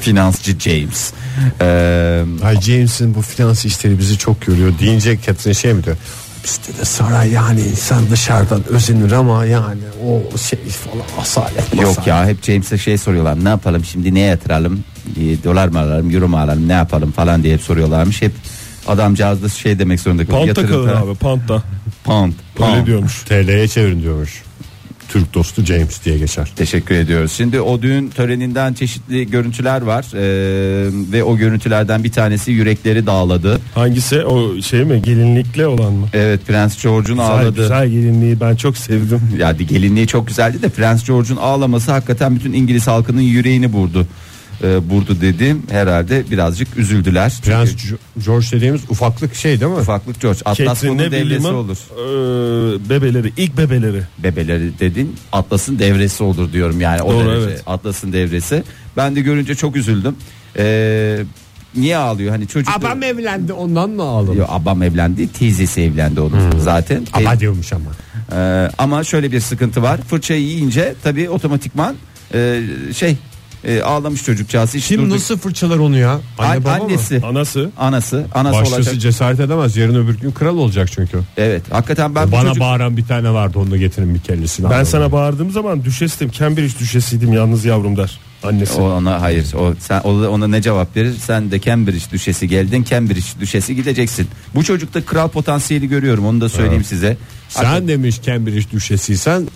[SPEAKER 4] finansçı James. Ee,
[SPEAKER 3] Ay James'in bu finans işleri bizi çok görüyor deyince Catherine şey mi diyor? Bizde de saray yani insan dışarıdan özenir ama yani o şey falan asalet
[SPEAKER 4] yok ya hep James'e şey soruyorlar. Ne yapalım şimdi ne yatıralım? Ee, dolar mı alalım, euro mu alalım, ne yapalım falan diye hep soruyorlarmış. Hep adamcağız da şey demek zorunda kalıyor.
[SPEAKER 5] Panta
[SPEAKER 4] Yatırın
[SPEAKER 5] kalın
[SPEAKER 4] falan.
[SPEAKER 5] abi panta.
[SPEAKER 4] Pound.
[SPEAKER 5] Öyle
[SPEAKER 4] pound.
[SPEAKER 5] diyormuş.
[SPEAKER 3] TL'ye çevirin diyormuş. Türk dostu James diye geçer.
[SPEAKER 4] Teşekkür ediyoruz. Şimdi o düğün töreninden çeşitli görüntüler var Ee, ve o görüntülerden bir tanesi yürekleri dağladı.
[SPEAKER 5] Hangisi o şey mi gelinlikle olan mı?
[SPEAKER 4] Evet Prens George'un
[SPEAKER 5] Güzel,
[SPEAKER 4] ağladı.
[SPEAKER 5] güzel gelinliği ben çok sevdim.
[SPEAKER 4] Ya di- gelinliği çok güzeldi de Prens George'un ağlaması hakikaten bütün İngiliz halkının yüreğini burdu. Ee, burdu dediğim herhalde birazcık üzüldüler. Çünkü
[SPEAKER 3] Prens Jo- George dediğimiz ufaklık şey değil mi?
[SPEAKER 4] ufaklık George. Atlas bunun
[SPEAKER 5] Catherine'le
[SPEAKER 4] devresi
[SPEAKER 5] William'ın
[SPEAKER 4] olur.
[SPEAKER 5] eee, bebeleri ilk bebeleri.
[SPEAKER 4] Bebeleri dedin Atlas'ın devresi olur diyorum yani o
[SPEAKER 5] Doğru,
[SPEAKER 4] derece.
[SPEAKER 5] evet.
[SPEAKER 4] Atlas'ın devresi. Ben de görünce çok üzüldüm. Ee, niye ağlıyor? Hani çocuk
[SPEAKER 3] Abam evlendi ondan mı ağladın?
[SPEAKER 4] Yo, abam evlendi, teyzesi evlendi onun zaten.
[SPEAKER 3] Aba diyormuş ama.
[SPEAKER 4] Ee, ama şöyle bir sıkıntı var. Fırçayı yiyince tabii otomatikman e, şey e, ağlamış çocukcağız. Hiç
[SPEAKER 3] Kim
[SPEAKER 4] durduk-
[SPEAKER 3] nasıl fırçalar onu ya?
[SPEAKER 4] An-
[SPEAKER 3] Anne baba mı?
[SPEAKER 4] annesi,
[SPEAKER 5] Anası
[SPEAKER 4] anası, anası
[SPEAKER 3] Başkası
[SPEAKER 4] olacak.
[SPEAKER 3] cesaret edemez. Yarın öbür gün kral olacak çünkü.
[SPEAKER 4] Evet, hakikaten ben bu
[SPEAKER 3] Bana
[SPEAKER 4] çocuk-
[SPEAKER 3] bağıran bir tane vardı onu da getirin bir kellesini.
[SPEAKER 5] ben
[SPEAKER 3] alalım.
[SPEAKER 5] sana bağırdığım zaman düşestim Cambridge düşesiydim yalnız yavrum der annesi.
[SPEAKER 4] o ona hayır. O sen o- ona ne cevap verir? Sen de Cambridge düşesi geldin. Cambridge düşesi gideceksin. Bu çocukta kral potansiyeli görüyorum. Onu da söyleyeyim size.
[SPEAKER 3] Sen demiş Cambridge düşesiysen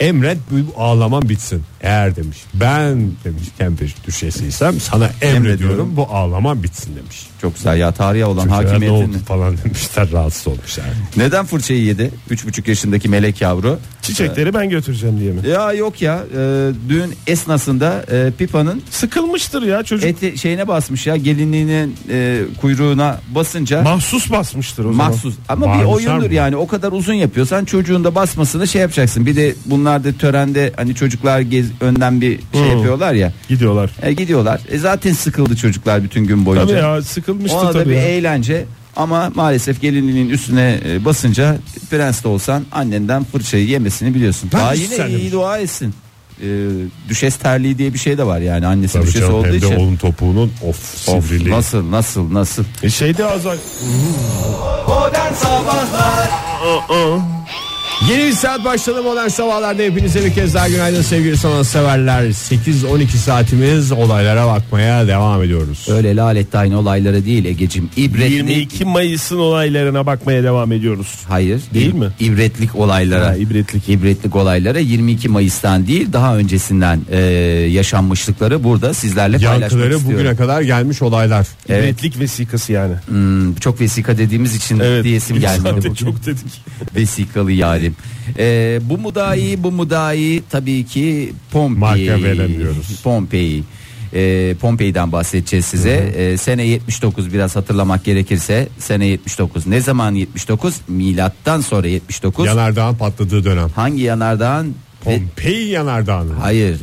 [SPEAKER 3] emret bu ağlaman bitsin. Eğer demiş ben demiş Cambridge düşesiysem sana emrediyorum
[SPEAKER 4] Emrediyorum.
[SPEAKER 3] bu ağlaman bitsin demiş.
[SPEAKER 4] Çok güzel ya tarihe olan
[SPEAKER 3] Çocuğa ne oldu
[SPEAKER 4] hakimiyetini.
[SPEAKER 3] falan demişler rahatsız olmuşlar.
[SPEAKER 4] Neden fırçayı yedi? 3,5 yaşındaki melek yavru.
[SPEAKER 5] Çiçekleri ben götüreceğim diye mi?
[SPEAKER 4] Ya yok ya e, düğün esnasında e, Pipa'nın
[SPEAKER 5] Sıkılmıştır ya çocuk.
[SPEAKER 4] eti şeyine basmış ya gelinliğinin e, kuyruğuna basınca
[SPEAKER 5] Mahsus basmıştır o zaman.
[SPEAKER 4] mahsus ama bir
[SPEAKER 3] Bağırmışlar
[SPEAKER 4] oyundur
[SPEAKER 3] mı?
[SPEAKER 4] yani o kadar uzun yapıyorsan çocuğun da basmasını şey yapacaksın bir de bunlar da törende hani çocuklar gez, önden bir şey
[SPEAKER 5] Hı.
[SPEAKER 4] yapıyorlar ya
[SPEAKER 5] Gidiyorlar.
[SPEAKER 4] E, gidiyorlar e, zaten sıkıldı çocuklar bütün gün boyunca
[SPEAKER 5] Tabii ya sıkılmıştır
[SPEAKER 4] ona da
[SPEAKER 5] tabii.
[SPEAKER 4] bir
[SPEAKER 5] ya.
[SPEAKER 4] eğlence ama maalesef gelinliğinin üstüne e, basınca prens de olsan annenden fırçayı yemesini biliyorsun.
[SPEAKER 3] Ben
[SPEAKER 4] Daha
[SPEAKER 3] hiç
[SPEAKER 4] yine
[SPEAKER 3] sevmedim.
[SPEAKER 4] iyi dua etsin. E, düşes terliği diye bir şey de var yani annesi
[SPEAKER 3] Tabii
[SPEAKER 4] düşesi
[SPEAKER 3] canım,
[SPEAKER 4] olduğu
[SPEAKER 3] hem de
[SPEAKER 4] için.
[SPEAKER 3] onun topuğunun of
[SPEAKER 4] Of,
[SPEAKER 3] sivriliği.
[SPEAKER 4] nasıl nasıl nasıl.
[SPEAKER 5] E şeyde azar.
[SPEAKER 9] Modern Sabahlar
[SPEAKER 3] Yeni bir saat başladı modern sabahlarda hepinize bir kez daha günaydın sevgili sanatseverler. 8-12 saatimiz olaylara bakmaya devam ediyoruz.
[SPEAKER 4] Öyle lalet aynı olaylara değil Egecim. İbretlik.
[SPEAKER 5] 22 Mayıs'ın olaylarına bakmaya devam ediyoruz.
[SPEAKER 4] Hayır.
[SPEAKER 5] Değil
[SPEAKER 4] İb-
[SPEAKER 5] mi?
[SPEAKER 4] İbretlik olaylara.
[SPEAKER 5] Ha, ibretlik.
[SPEAKER 4] İbretlik olaylara 22 Mayıs'tan değil daha öncesinden e, yaşanmışlıkları burada sizlerle paylaşmak
[SPEAKER 3] Yankıları
[SPEAKER 4] istiyorum.
[SPEAKER 3] bugüne kadar gelmiş olaylar.
[SPEAKER 4] Evet.
[SPEAKER 5] İbretlik vesikası yani.
[SPEAKER 4] Hmm, çok vesika dediğimiz için diyesim
[SPEAKER 5] biz
[SPEAKER 4] gelmedi.
[SPEAKER 5] zaten
[SPEAKER 4] bugün.
[SPEAKER 5] Çok dedik.
[SPEAKER 4] Vesikalı yarim. Ee, bu mudai bu mudai tabii ki Pompei.
[SPEAKER 3] Marka veremiyoruz.
[SPEAKER 4] Pompei. Ee, Pompei'den bahsedeceğiz size. Ee, sene 79 biraz hatırlamak gerekirse sene 79. Ne zaman 79? Milattan sonra 79.
[SPEAKER 3] Yanardağın patladığı dönem.
[SPEAKER 4] Hangi yanardağın? Ve-
[SPEAKER 3] Pompei yanardağını.
[SPEAKER 4] Hayır,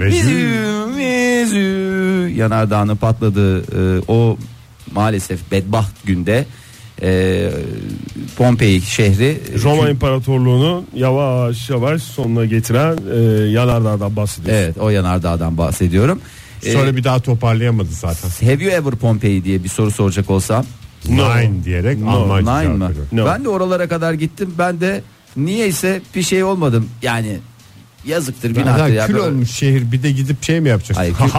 [SPEAKER 3] Vezüv.
[SPEAKER 4] Vezüv, Vezüv. Yanardağının patladığı e, o maalesef bedbaht günde e, Pompei şehri
[SPEAKER 5] Roma İmparatorluğu'nu yavaş yavaş sonuna getiren e, yanardağdan bahsediyoruz.
[SPEAKER 4] Evet o yanardağdan bahsediyorum.
[SPEAKER 3] Sonra
[SPEAKER 4] Ee,
[SPEAKER 3] bir daha toparlayamadı zaten.
[SPEAKER 4] Have you ever Pompei diye bir soru soracak olsam.
[SPEAKER 5] No.
[SPEAKER 3] Nine diyerek Almanca
[SPEAKER 4] Nine
[SPEAKER 3] cevap
[SPEAKER 4] mi?
[SPEAKER 3] veriyor.
[SPEAKER 5] No.
[SPEAKER 4] Ben de oralara kadar gittim. Ben de niyeyse bir şey olmadım. Yani yazıktır
[SPEAKER 3] Ya
[SPEAKER 4] günahtır. ya.
[SPEAKER 3] kül
[SPEAKER 4] Böyle-
[SPEAKER 3] olmuş şehir bir de gidip şey mi yapacaksın?
[SPEAKER 4] Hayır, kül-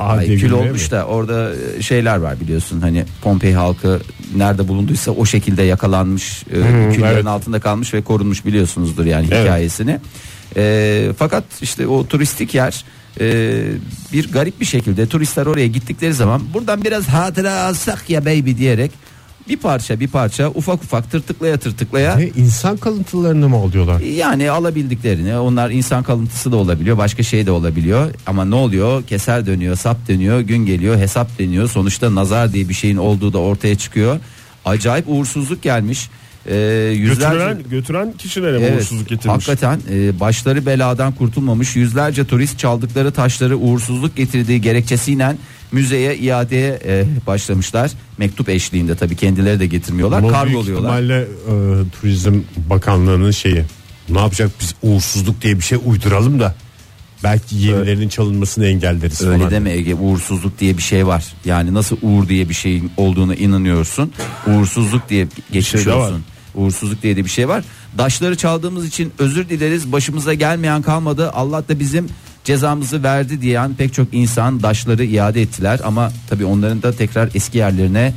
[SPEAKER 4] Ay,
[SPEAKER 3] diye
[SPEAKER 4] kül
[SPEAKER 3] gülmeye mi?
[SPEAKER 4] olmuş da orada e, şeyler var biliyorsun hani Pompei halkı nerede bulunduysa o şekilde yakalanmış e, küllerin
[SPEAKER 5] evet.
[SPEAKER 4] altında kalmış ve korunmuş biliyorsunuzdur yani
[SPEAKER 5] Evet.
[SPEAKER 4] hikayesini. E, fakat işte o turistik yer e, bir garip bir şekilde turistler oraya gittikleri zaman buradan biraz hatıra alsak ya baby diyerek bir parça bir parça ufak ufak tırtıklaya tırtıklaya
[SPEAKER 3] Ne, insan kalıntılarını mı alıyorlar?
[SPEAKER 4] yani alabildiklerini onlar insan kalıntısı da olabiliyor başka şey de olabiliyor ama ne oluyor keser dönüyor sap dönüyor gün geliyor hesap deniyor sonuçta nazar diye bir şeyin olduğu da ortaya çıkıyor acayip uğursuzluk gelmiş ee, yüzlerce
[SPEAKER 5] Götüren, götüren kişilere mi
[SPEAKER 4] Evet,
[SPEAKER 5] uğursuzluk getirmiş.
[SPEAKER 4] Hakikaten e, başları beladan kurtulmamış yüzlerce turist çaldıkları taşları uğursuzluk getirdiği gerekçesiyle müzeye iadeye e, başlamışlar. Mektup eşliğinde tabii kendileri de getirmiyorlar.
[SPEAKER 3] Ama
[SPEAKER 4] Kargoluyorlar.
[SPEAKER 3] Büyük ihtimalle e, Turizm Bakanlığı'nın şeyi ne yapacak biz uğursuzluk diye bir şey uyduralım da belki yenilerinin çalınmasını engelleriz.
[SPEAKER 4] Öyle
[SPEAKER 3] falan.
[SPEAKER 4] deme Ege uğursuzluk diye bir şey var. Yani nasıl uğur diye bir şeyin olduğuna inanıyorsun. Uğursuzluk diye geçmiş
[SPEAKER 5] şey de var.
[SPEAKER 4] olsun. Uğursuzluk diye de bir şey var. Daşları çaldığımız için özür dileriz. Başımıza gelmeyen kalmadı. Allah da bizim cezamızı verdi diyen pek çok insan daşları iade ettiler. Ama tabii onların da tekrar eski yerlerine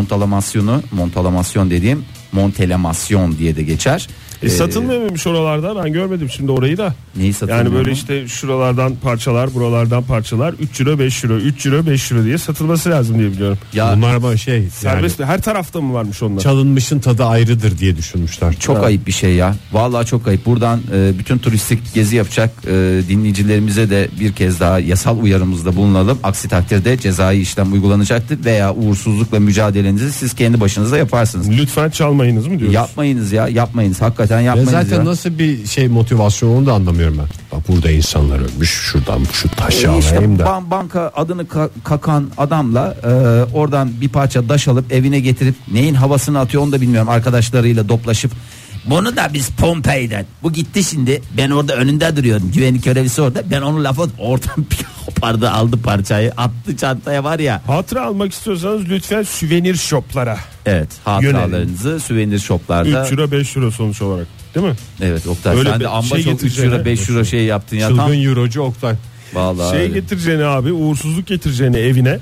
[SPEAKER 4] montalamasyonu, montalamasyon dediğim montelamasyon diye de geçer.
[SPEAKER 5] E, satılmıyor muymuş oralardan? Ben görmedim şimdi orayı da.
[SPEAKER 4] Neyi satılmıyor
[SPEAKER 5] Yani böyle
[SPEAKER 4] mu?
[SPEAKER 5] işte şuralardan parçalar, buralardan parçalar 3 euro 5 euro, 3 euro 5 euro diye satılması lazım diye biliyorum.
[SPEAKER 4] Ya
[SPEAKER 3] Bunlar ama şey yani,
[SPEAKER 5] Serbest mi? her tarafta mı varmış onlar?
[SPEAKER 3] çalınmışın tadı ayrıdır diye düşünmüşler.
[SPEAKER 4] Çok ayıp bir şey ya. Vallahi çok ayıp. Buradan e, bütün turistik gezi yapacak e, dinleyicilerimize de bir kez daha yasal uyarımızda bulunalım. Aksi takdirde cezai işlem uygulanacaktır veya uğursuzlukla mücadelenizi siz kendi başınıza yaparsınız.
[SPEAKER 5] Lütfen çalmayınız mı diyoruz?
[SPEAKER 4] Yapmayınız ya, yapmayınız. zaten
[SPEAKER 3] Ya
[SPEAKER 4] yapmayız
[SPEAKER 3] zaten
[SPEAKER 4] ya.
[SPEAKER 3] nasıl bir şey motivasyon onu da anlamıyorum ben. Bak burada insanlar ölmüş şuradan şu taşı
[SPEAKER 4] E işte
[SPEAKER 3] alayım da.
[SPEAKER 4] ban- banka adını ka- kakan adamla e, oradan bir parça daş alıp evine getirip neyin havasını atıyor onu da bilmiyorum arkadaşlarıyla doplaşıp bunu da biz Pompei'den bu gitti şimdi ben orada önünde duruyorum güvenlik görevlisi orada ben onu lafı oradan bir kopardı aldı parçayı attı çantaya var ya
[SPEAKER 5] Hatıra almak istiyorsanız lütfen süvenir shoplara.
[SPEAKER 4] evet hatıralarınızı süvenir shoplarda
[SPEAKER 5] 3 lira 5 lira sonuç olarak. Değil mi?
[SPEAKER 4] evet Oktay
[SPEAKER 5] Öyle
[SPEAKER 4] sen de
[SPEAKER 5] bir
[SPEAKER 4] amma
[SPEAKER 5] şey
[SPEAKER 4] çok 3 lira
[SPEAKER 5] getireceğine-
[SPEAKER 4] 5 lira şey yaptın ya tam
[SPEAKER 3] Çılgın Eurocu Oktay.
[SPEAKER 4] vallahi
[SPEAKER 5] şey
[SPEAKER 4] öyle.
[SPEAKER 5] getireceğini abi uğursuzluk getireceğini evine.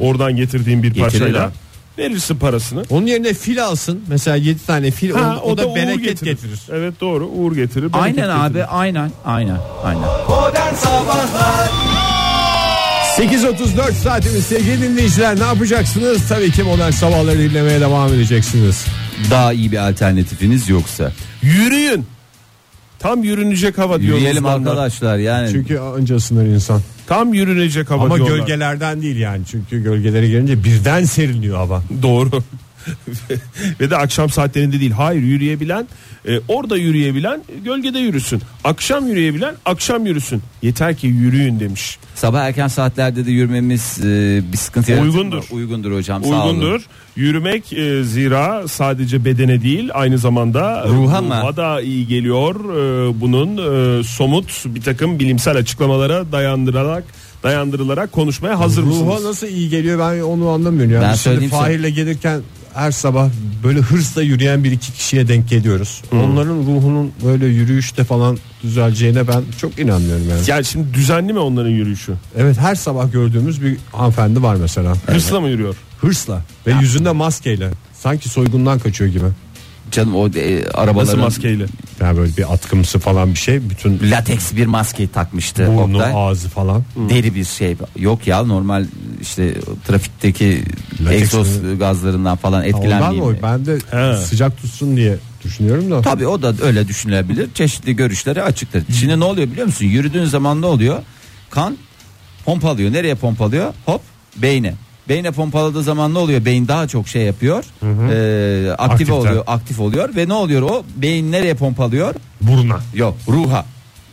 [SPEAKER 5] Oradan getirdiğin bir
[SPEAKER 4] Getirirler.
[SPEAKER 5] parçayla. Verirsin parasını.
[SPEAKER 3] Onun yerine fil alsın. Mesela 7 tane fil
[SPEAKER 5] Ha,
[SPEAKER 3] o, o da,
[SPEAKER 5] uğur
[SPEAKER 3] bereket getirir.
[SPEAKER 5] Evet doğru uğur getirir. bereket
[SPEAKER 4] aynen
[SPEAKER 5] getirir.
[SPEAKER 4] abi aynen aynen aynen
[SPEAKER 3] 8.34 saatimiz sevgili dinleyiciler ne yapacaksınız? Tabii ki modern sabahları dinlemeye devam edeceksiniz.
[SPEAKER 4] daha iyi bir alternatifiniz yoksa
[SPEAKER 5] Yürüyün. Tam yürünecek hava diyor
[SPEAKER 4] Yürüyelim
[SPEAKER 5] uzmanlar.
[SPEAKER 4] arkadaşlar yani.
[SPEAKER 3] Çünkü önce ısınır insan.
[SPEAKER 5] Tam yürünecek hava
[SPEAKER 3] Ama
[SPEAKER 5] diyorlar.
[SPEAKER 3] gölgelerden değil yani. Çünkü gölgelere gelince birden seriniyor hava.
[SPEAKER 5] Doğru. Ve de akşam saatlerinde değil. Hayır yürüyebilen e, orada yürüyebilen gölgede yürüsün. Akşam yürüyebilen akşam yürüsün. Yeter ki yürüyün demiş.
[SPEAKER 4] sabah erken saatlerde de yürümemiz e, bir sıkıntı yaratır mı?
[SPEAKER 5] Uygundur.
[SPEAKER 4] Uygundur hocam sağ olun.
[SPEAKER 5] Uygundur. Yürümek e, zira sadece bedene değil aynı zamanda
[SPEAKER 4] Ruha mı?
[SPEAKER 5] da iyi geliyor. E, bunun e, somut bir takım bilimsel açıklamalara dayandırarak dayandırılarak konuşmaya hazır
[SPEAKER 3] Ruha
[SPEAKER 5] mısınız?
[SPEAKER 3] nasıl iyi geliyor ben onu anlamıyorum. Yani
[SPEAKER 4] Ben
[SPEAKER 3] Şimdi
[SPEAKER 4] söyleyeyim sana.
[SPEAKER 3] Fahir'le gelirken her sabah böyle hırsla yürüyen bir iki kişiye denk geliyoruz. Onların ruhunun böyle yürüyüşte falan düzeleceğine ben çok inanmıyorum yani.
[SPEAKER 5] Yani şimdi düzenli mi onların yürüyüşü?
[SPEAKER 3] Evet her sabah gördüğümüz bir hanımefendi var mesela.
[SPEAKER 5] Hırsla mı yürüyor?
[SPEAKER 3] Hırsla ve yüzünde maskeyle. Sanki soygundan kaçıyor gibi.
[SPEAKER 4] Canım o e,
[SPEAKER 5] Nasıl
[SPEAKER 4] arabaların
[SPEAKER 5] maskeyle?
[SPEAKER 3] Yani böyle bir atkımsı falan bir şey. Bütün
[SPEAKER 4] lateks bir maske takmıştı.
[SPEAKER 3] burnu,
[SPEAKER 4] Oktay.
[SPEAKER 3] ağzı falan.
[SPEAKER 4] Deri bir şey yok ya normal işte trafikteki
[SPEAKER 3] Lateks
[SPEAKER 4] egzoz
[SPEAKER 3] mi?
[SPEAKER 4] gazlarından falan
[SPEAKER 3] Ondan mı?
[SPEAKER 4] etkilenmeyeyim.
[SPEAKER 3] o? Ben de
[SPEAKER 5] He.
[SPEAKER 3] sıcak tutsun diye düşünüyorum da.
[SPEAKER 4] Tabii o da öyle düşünülebilir. Çeşitli görüşlere açıktır. Şimdi ne oluyor biliyor musun? Yürüdüğün zaman ne oluyor? Kan pompalıyor. Nereye pompalıyor? Hop beyne. Beyne pompaladığı zaman ne oluyor? Beyin daha çok şey yapıyor. Ee, aktive
[SPEAKER 5] Aktiften.
[SPEAKER 4] oluyor, aktif oluyor ve ne oluyor o? Beyin nereye pompalıyor?
[SPEAKER 5] Buruna.
[SPEAKER 4] Yok, ruha.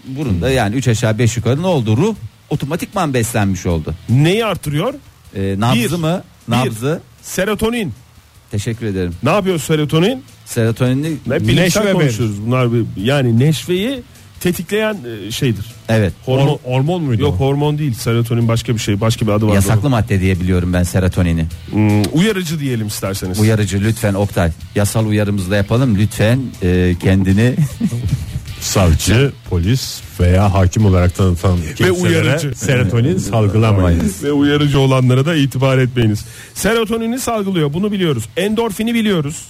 [SPEAKER 4] Burunda yani 3 aşağı 5 yukarı ne oldu? Ruh otomatikman beslenmiş oldu.
[SPEAKER 5] Neyi artırıyor?
[SPEAKER 4] Ee, nabzı
[SPEAKER 5] Bir,
[SPEAKER 4] mı?
[SPEAKER 5] bir.
[SPEAKER 4] Nabzı.
[SPEAKER 5] Serotonin.
[SPEAKER 4] Teşekkür ederim.
[SPEAKER 5] Ne yapıyor serotonin?
[SPEAKER 4] Serotonini
[SPEAKER 5] Hep
[SPEAKER 3] Neşve
[SPEAKER 5] bilimsel
[SPEAKER 3] verir.
[SPEAKER 5] konuşuyoruz. Bunlar bir- yani neşveyi tetikleyen e, şeydir.
[SPEAKER 4] evet.
[SPEAKER 5] Hormon,
[SPEAKER 3] hormon muydu
[SPEAKER 5] yok
[SPEAKER 3] o?
[SPEAKER 5] hormon değil. Serotonin başka bir şey. Başka bir adı var.
[SPEAKER 4] Yasaklı madde diye biliyorum ben serotonini.
[SPEAKER 5] Hmm, uyarıcı diyelim isterseniz.
[SPEAKER 4] Uyarıcı lütfen Oktay. Yasal uyarımızla yapalım. Lütfen e, kendini
[SPEAKER 3] savcı, polis veya hakim olarak tanıtan kimselere
[SPEAKER 5] uyarıcı.
[SPEAKER 3] serotonin salgılamayın.
[SPEAKER 5] Ve uyarıcı olanlara da itibar etmeyiniz. Serotonini salgılıyor. Bunu biliyoruz. Endorfini biliyoruz.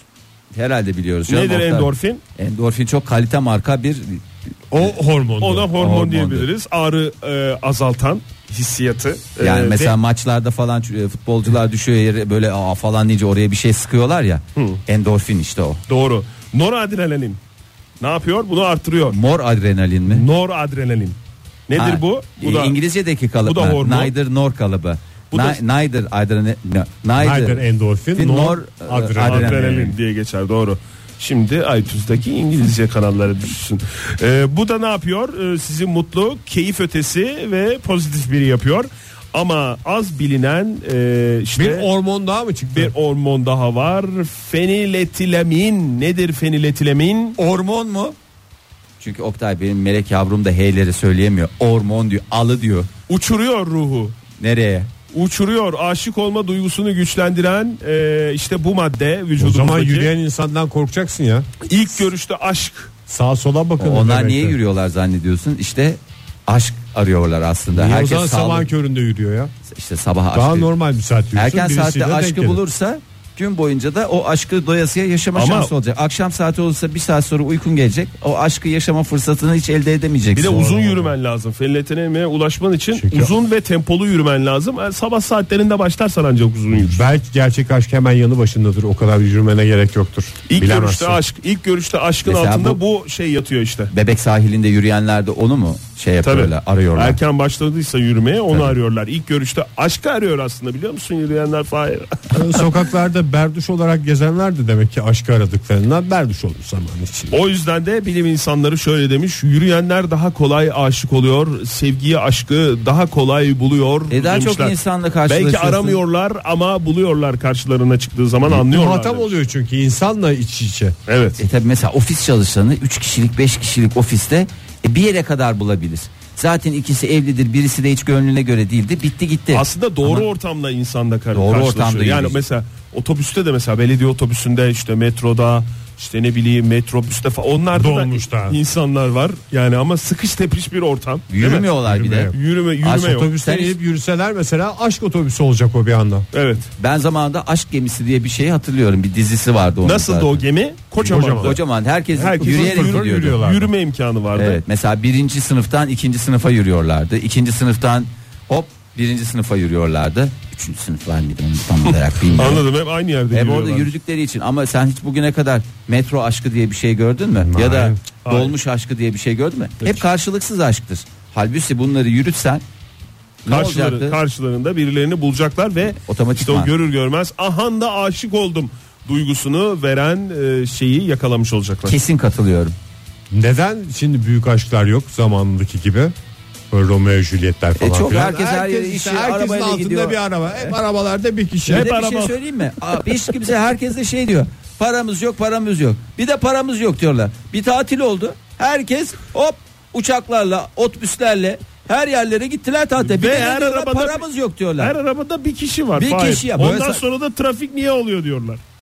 [SPEAKER 4] herhalde biliyoruz. canım
[SPEAKER 5] Nedir
[SPEAKER 4] Oktay.
[SPEAKER 5] endorfin?
[SPEAKER 4] Endorfin çok kalite marka bir
[SPEAKER 3] O hormon.
[SPEAKER 5] Ona hormon
[SPEAKER 4] Hormondur.
[SPEAKER 5] diyebiliriz. Ağrı e, azaltan hissiyatı. E,
[SPEAKER 4] yani
[SPEAKER 5] ve
[SPEAKER 4] mesela maçlarda falan e, futbolcular düşüyor yere böyle aa falan deyince oraya bir şey sıkıyorlar ya. Endorfin işte o.
[SPEAKER 5] doğru. Noradrenalin. Ne yapıyor? Bunu artırıyor.
[SPEAKER 4] Mor adrenalin mi?
[SPEAKER 5] Noradrenalin. Nedir
[SPEAKER 4] Ha,
[SPEAKER 5] bu? Bu
[SPEAKER 4] e,
[SPEAKER 5] da
[SPEAKER 4] İngilizce'deki kalıp.
[SPEAKER 5] bu da
[SPEAKER 4] ha,
[SPEAKER 5] hormon.
[SPEAKER 4] Neither nor kalıbı.
[SPEAKER 5] Bu da-
[SPEAKER 4] Na- neither adrenalin. Neither,
[SPEAKER 3] Neither endorfin,
[SPEAKER 4] fin-
[SPEAKER 3] nor
[SPEAKER 4] e,
[SPEAKER 3] adrenalin.
[SPEAKER 5] adrenalin, diye geçer doğru. Şimdi iTunes'daki İngilizce kanallara düşsün. Ee, bu da ne yapıyor? Ee, sizi mutlu, keyif ötesi ve pozitif biri yapıyor. Ama az bilinen e, işte
[SPEAKER 3] Bir hormon daha mı çıktı?
[SPEAKER 5] bir hormon daha var. Feniletilamin. Nedir feniletilamin?
[SPEAKER 4] Hormon mu? Çünkü Oktay benim melek yavrum da heyleri söyleyemiyor. Hormon diyor, alı diyor.
[SPEAKER 5] Uçuruyor ruhu.
[SPEAKER 4] Nereye?
[SPEAKER 5] Uçuruyor. Aşık olma duygusunu güçlendiren e, işte bu madde
[SPEAKER 3] o
[SPEAKER 5] vücudumuzdaki.
[SPEAKER 3] zaman yürüyen insandan korkacaksın ya.
[SPEAKER 5] ilk görüşte aşk.
[SPEAKER 3] Sağa sola bakın.
[SPEAKER 4] Onlar
[SPEAKER 3] demek
[SPEAKER 4] niye
[SPEAKER 3] ki.
[SPEAKER 4] yürüyorlar zannediyorsun? İşte aşk arıyorlar aslında.
[SPEAKER 3] Niye o
[SPEAKER 4] Herkes
[SPEAKER 3] zaman sabahın
[SPEAKER 4] sabah
[SPEAKER 3] köründe yürüyor ya.
[SPEAKER 4] işte sabah
[SPEAKER 3] Daha
[SPEAKER 4] aşkı.
[SPEAKER 3] normal bir saat yürüsün.
[SPEAKER 4] Erken
[SPEAKER 3] birisiyle
[SPEAKER 4] saatte
[SPEAKER 3] denk
[SPEAKER 4] aşkı
[SPEAKER 3] gelir.
[SPEAKER 4] bulursa gün boyunca da o aşkı doyasıya yaşama
[SPEAKER 5] Ama-
[SPEAKER 4] şansı olacak. Akşam saati olursa bir saat sonra uykun gelecek. O aşkı yaşama fırsatını hiç elde edemeyeceksin.
[SPEAKER 5] Bir de uzun yürümen lazım. Feniletilemeye ulaşman için
[SPEAKER 3] Çünkü-
[SPEAKER 5] uzun ve tempolu yürümen lazım. Yani sabah saatlerinde başlarsan ancak uzun yürür.
[SPEAKER 3] Belki gerçek aşk hemen yanı başındadır. O kadar yürümene gerek yoktur.
[SPEAKER 5] İlk
[SPEAKER 3] Bilemezsin.
[SPEAKER 5] görüşte aşk, ilk görüşte aşkın
[SPEAKER 4] Mesela
[SPEAKER 5] altında bu, şey yatıyor işte.
[SPEAKER 4] Bebek sahilinde yürüyenler de onu mu şey
[SPEAKER 5] Tabii.
[SPEAKER 4] yapıyorlar arıyorlar.
[SPEAKER 5] Erken başladıysa yürümeye onu arıyorlar. İlk görüşte aşkı arıyor aslında biliyor musun yürüyenler Fahir?
[SPEAKER 7] Sokaklarda berduş olarak gezenler de demek ki aşkı aradıklarından berduş olmuş zaman için.
[SPEAKER 5] O yüzden de bilim insanları şöyle demiş. Yürüyenler daha kolay aşık oluyor. Sevgiyi, aşkı daha kolay buluyor.
[SPEAKER 4] E daha
[SPEAKER 5] demişler.
[SPEAKER 4] çok insanla
[SPEAKER 5] Belki
[SPEAKER 4] karşılaşıyorsun.
[SPEAKER 5] aramıyorlar ama buluyorlar karşılarına çıktığı zaman anlıyorlar.
[SPEAKER 7] Muhatap
[SPEAKER 5] demiş.
[SPEAKER 7] oluyor çünkü insanla iç içe.
[SPEAKER 5] Evet.
[SPEAKER 4] E tabi mesela ofis çalışanı 3 kişilik 5 kişilik ofiste e, bir yere kadar bulabilir. Zaten ikisi evlidir birisi de hiç gönlüne göre değildi bitti gitti.
[SPEAKER 5] Aslında doğru
[SPEAKER 4] Ama
[SPEAKER 5] ortamda insanda kar-
[SPEAKER 4] Doğru
[SPEAKER 5] karşılaşıyor.
[SPEAKER 4] ortamda
[SPEAKER 5] yani
[SPEAKER 4] yürüyorsun.
[SPEAKER 5] mesela otobüste de mesela belediye otobüsünde işte metroda işte ne bileyim metrobüste falan onlar da
[SPEAKER 7] Dolmuşta.
[SPEAKER 5] insanlar var. Yani ama sıkış tepiş bir ortam. değil mi?
[SPEAKER 4] yürümüyorlar bir
[SPEAKER 7] Yürüme
[SPEAKER 4] de.
[SPEAKER 7] yok.
[SPEAKER 5] Yürüme yürüme
[SPEAKER 4] Aşk
[SPEAKER 5] yok.
[SPEAKER 7] Otobüsten
[SPEAKER 4] Sen-
[SPEAKER 7] inip yürüseler mesela aşk otobüsü olacak o bir anda.
[SPEAKER 5] Evet.
[SPEAKER 4] Ben zamanında Aşk Gemisi diye bir şeyi hatırlıyorum bir dizisi vardı onun.
[SPEAKER 5] Nasıl
[SPEAKER 4] zaten.
[SPEAKER 5] o gemi? Kocaman.
[SPEAKER 7] Kocaman.
[SPEAKER 4] Kocaman herkes,
[SPEAKER 5] Herkes
[SPEAKER 4] yürüyerek
[SPEAKER 5] fırfır
[SPEAKER 4] gidiyordu.
[SPEAKER 7] yürüyorlar.
[SPEAKER 5] Yürüme imkanı vardı.
[SPEAKER 4] Evet mesela birinci sınıftan ikinci sınıfa yürüyorlardı. İkinci sınıftan hop birinci sınıfa yürüyorlardı. Üçüncü sınıf var mıydı onu tam olarak bilmiyorum.
[SPEAKER 5] Anladım hep aynı yerde
[SPEAKER 4] Hep orada
[SPEAKER 5] yürüyorlar.
[SPEAKER 4] yürüdükleri için ama sen hiç bugüne kadar metro aşkı diye bir şey gördün mü? Ya da dolmuş aşkı diye bir şey gördün mü? Hep karşılıksız aşktır. Halbuki bunları yürütsen ne olacaktı?
[SPEAKER 5] Karşıları, karşılarında birilerini bulacaklar ve işte
[SPEAKER 4] Otomatikman.
[SPEAKER 5] o görür görmez ahan da aşık oldum duygusunu veren e, şeyi yakalamış olacaklar.
[SPEAKER 4] Kesin katılıyorum.
[SPEAKER 7] Neden şimdi büyük aşklar yok zamandaki gibi? Böyle Romeo Juliet'ler falan.
[SPEAKER 4] E çok
[SPEAKER 7] filan.
[SPEAKER 4] herkes her yere işi,
[SPEAKER 7] herkesin
[SPEAKER 4] arabayla
[SPEAKER 7] altında
[SPEAKER 4] gidiyor.
[SPEAKER 7] bir araba. Hep arabalarda bir kişi.
[SPEAKER 4] Bir de bir şey söyleyeyim mi? Aa, Hiç kimse herkes de şey diyor. Paramız yok, paramız yok. Bir de paramız yok diyorlar. Bir tatil oldu. Herkes hop uçaklarla, otobüslerle her yerlere gittiler tatile. Bir
[SPEAKER 5] Ve
[SPEAKER 4] de ne
[SPEAKER 5] her
[SPEAKER 4] diyorlar?
[SPEAKER 5] arabada-
[SPEAKER 4] paramız yok diyorlar.
[SPEAKER 5] Her arabada bir kişi var.
[SPEAKER 4] Bir
[SPEAKER 5] Fahir.
[SPEAKER 4] kişi ya.
[SPEAKER 5] Ondan
[SPEAKER 4] Böyle-
[SPEAKER 5] sonra da trafik niye oluyor diyorlar.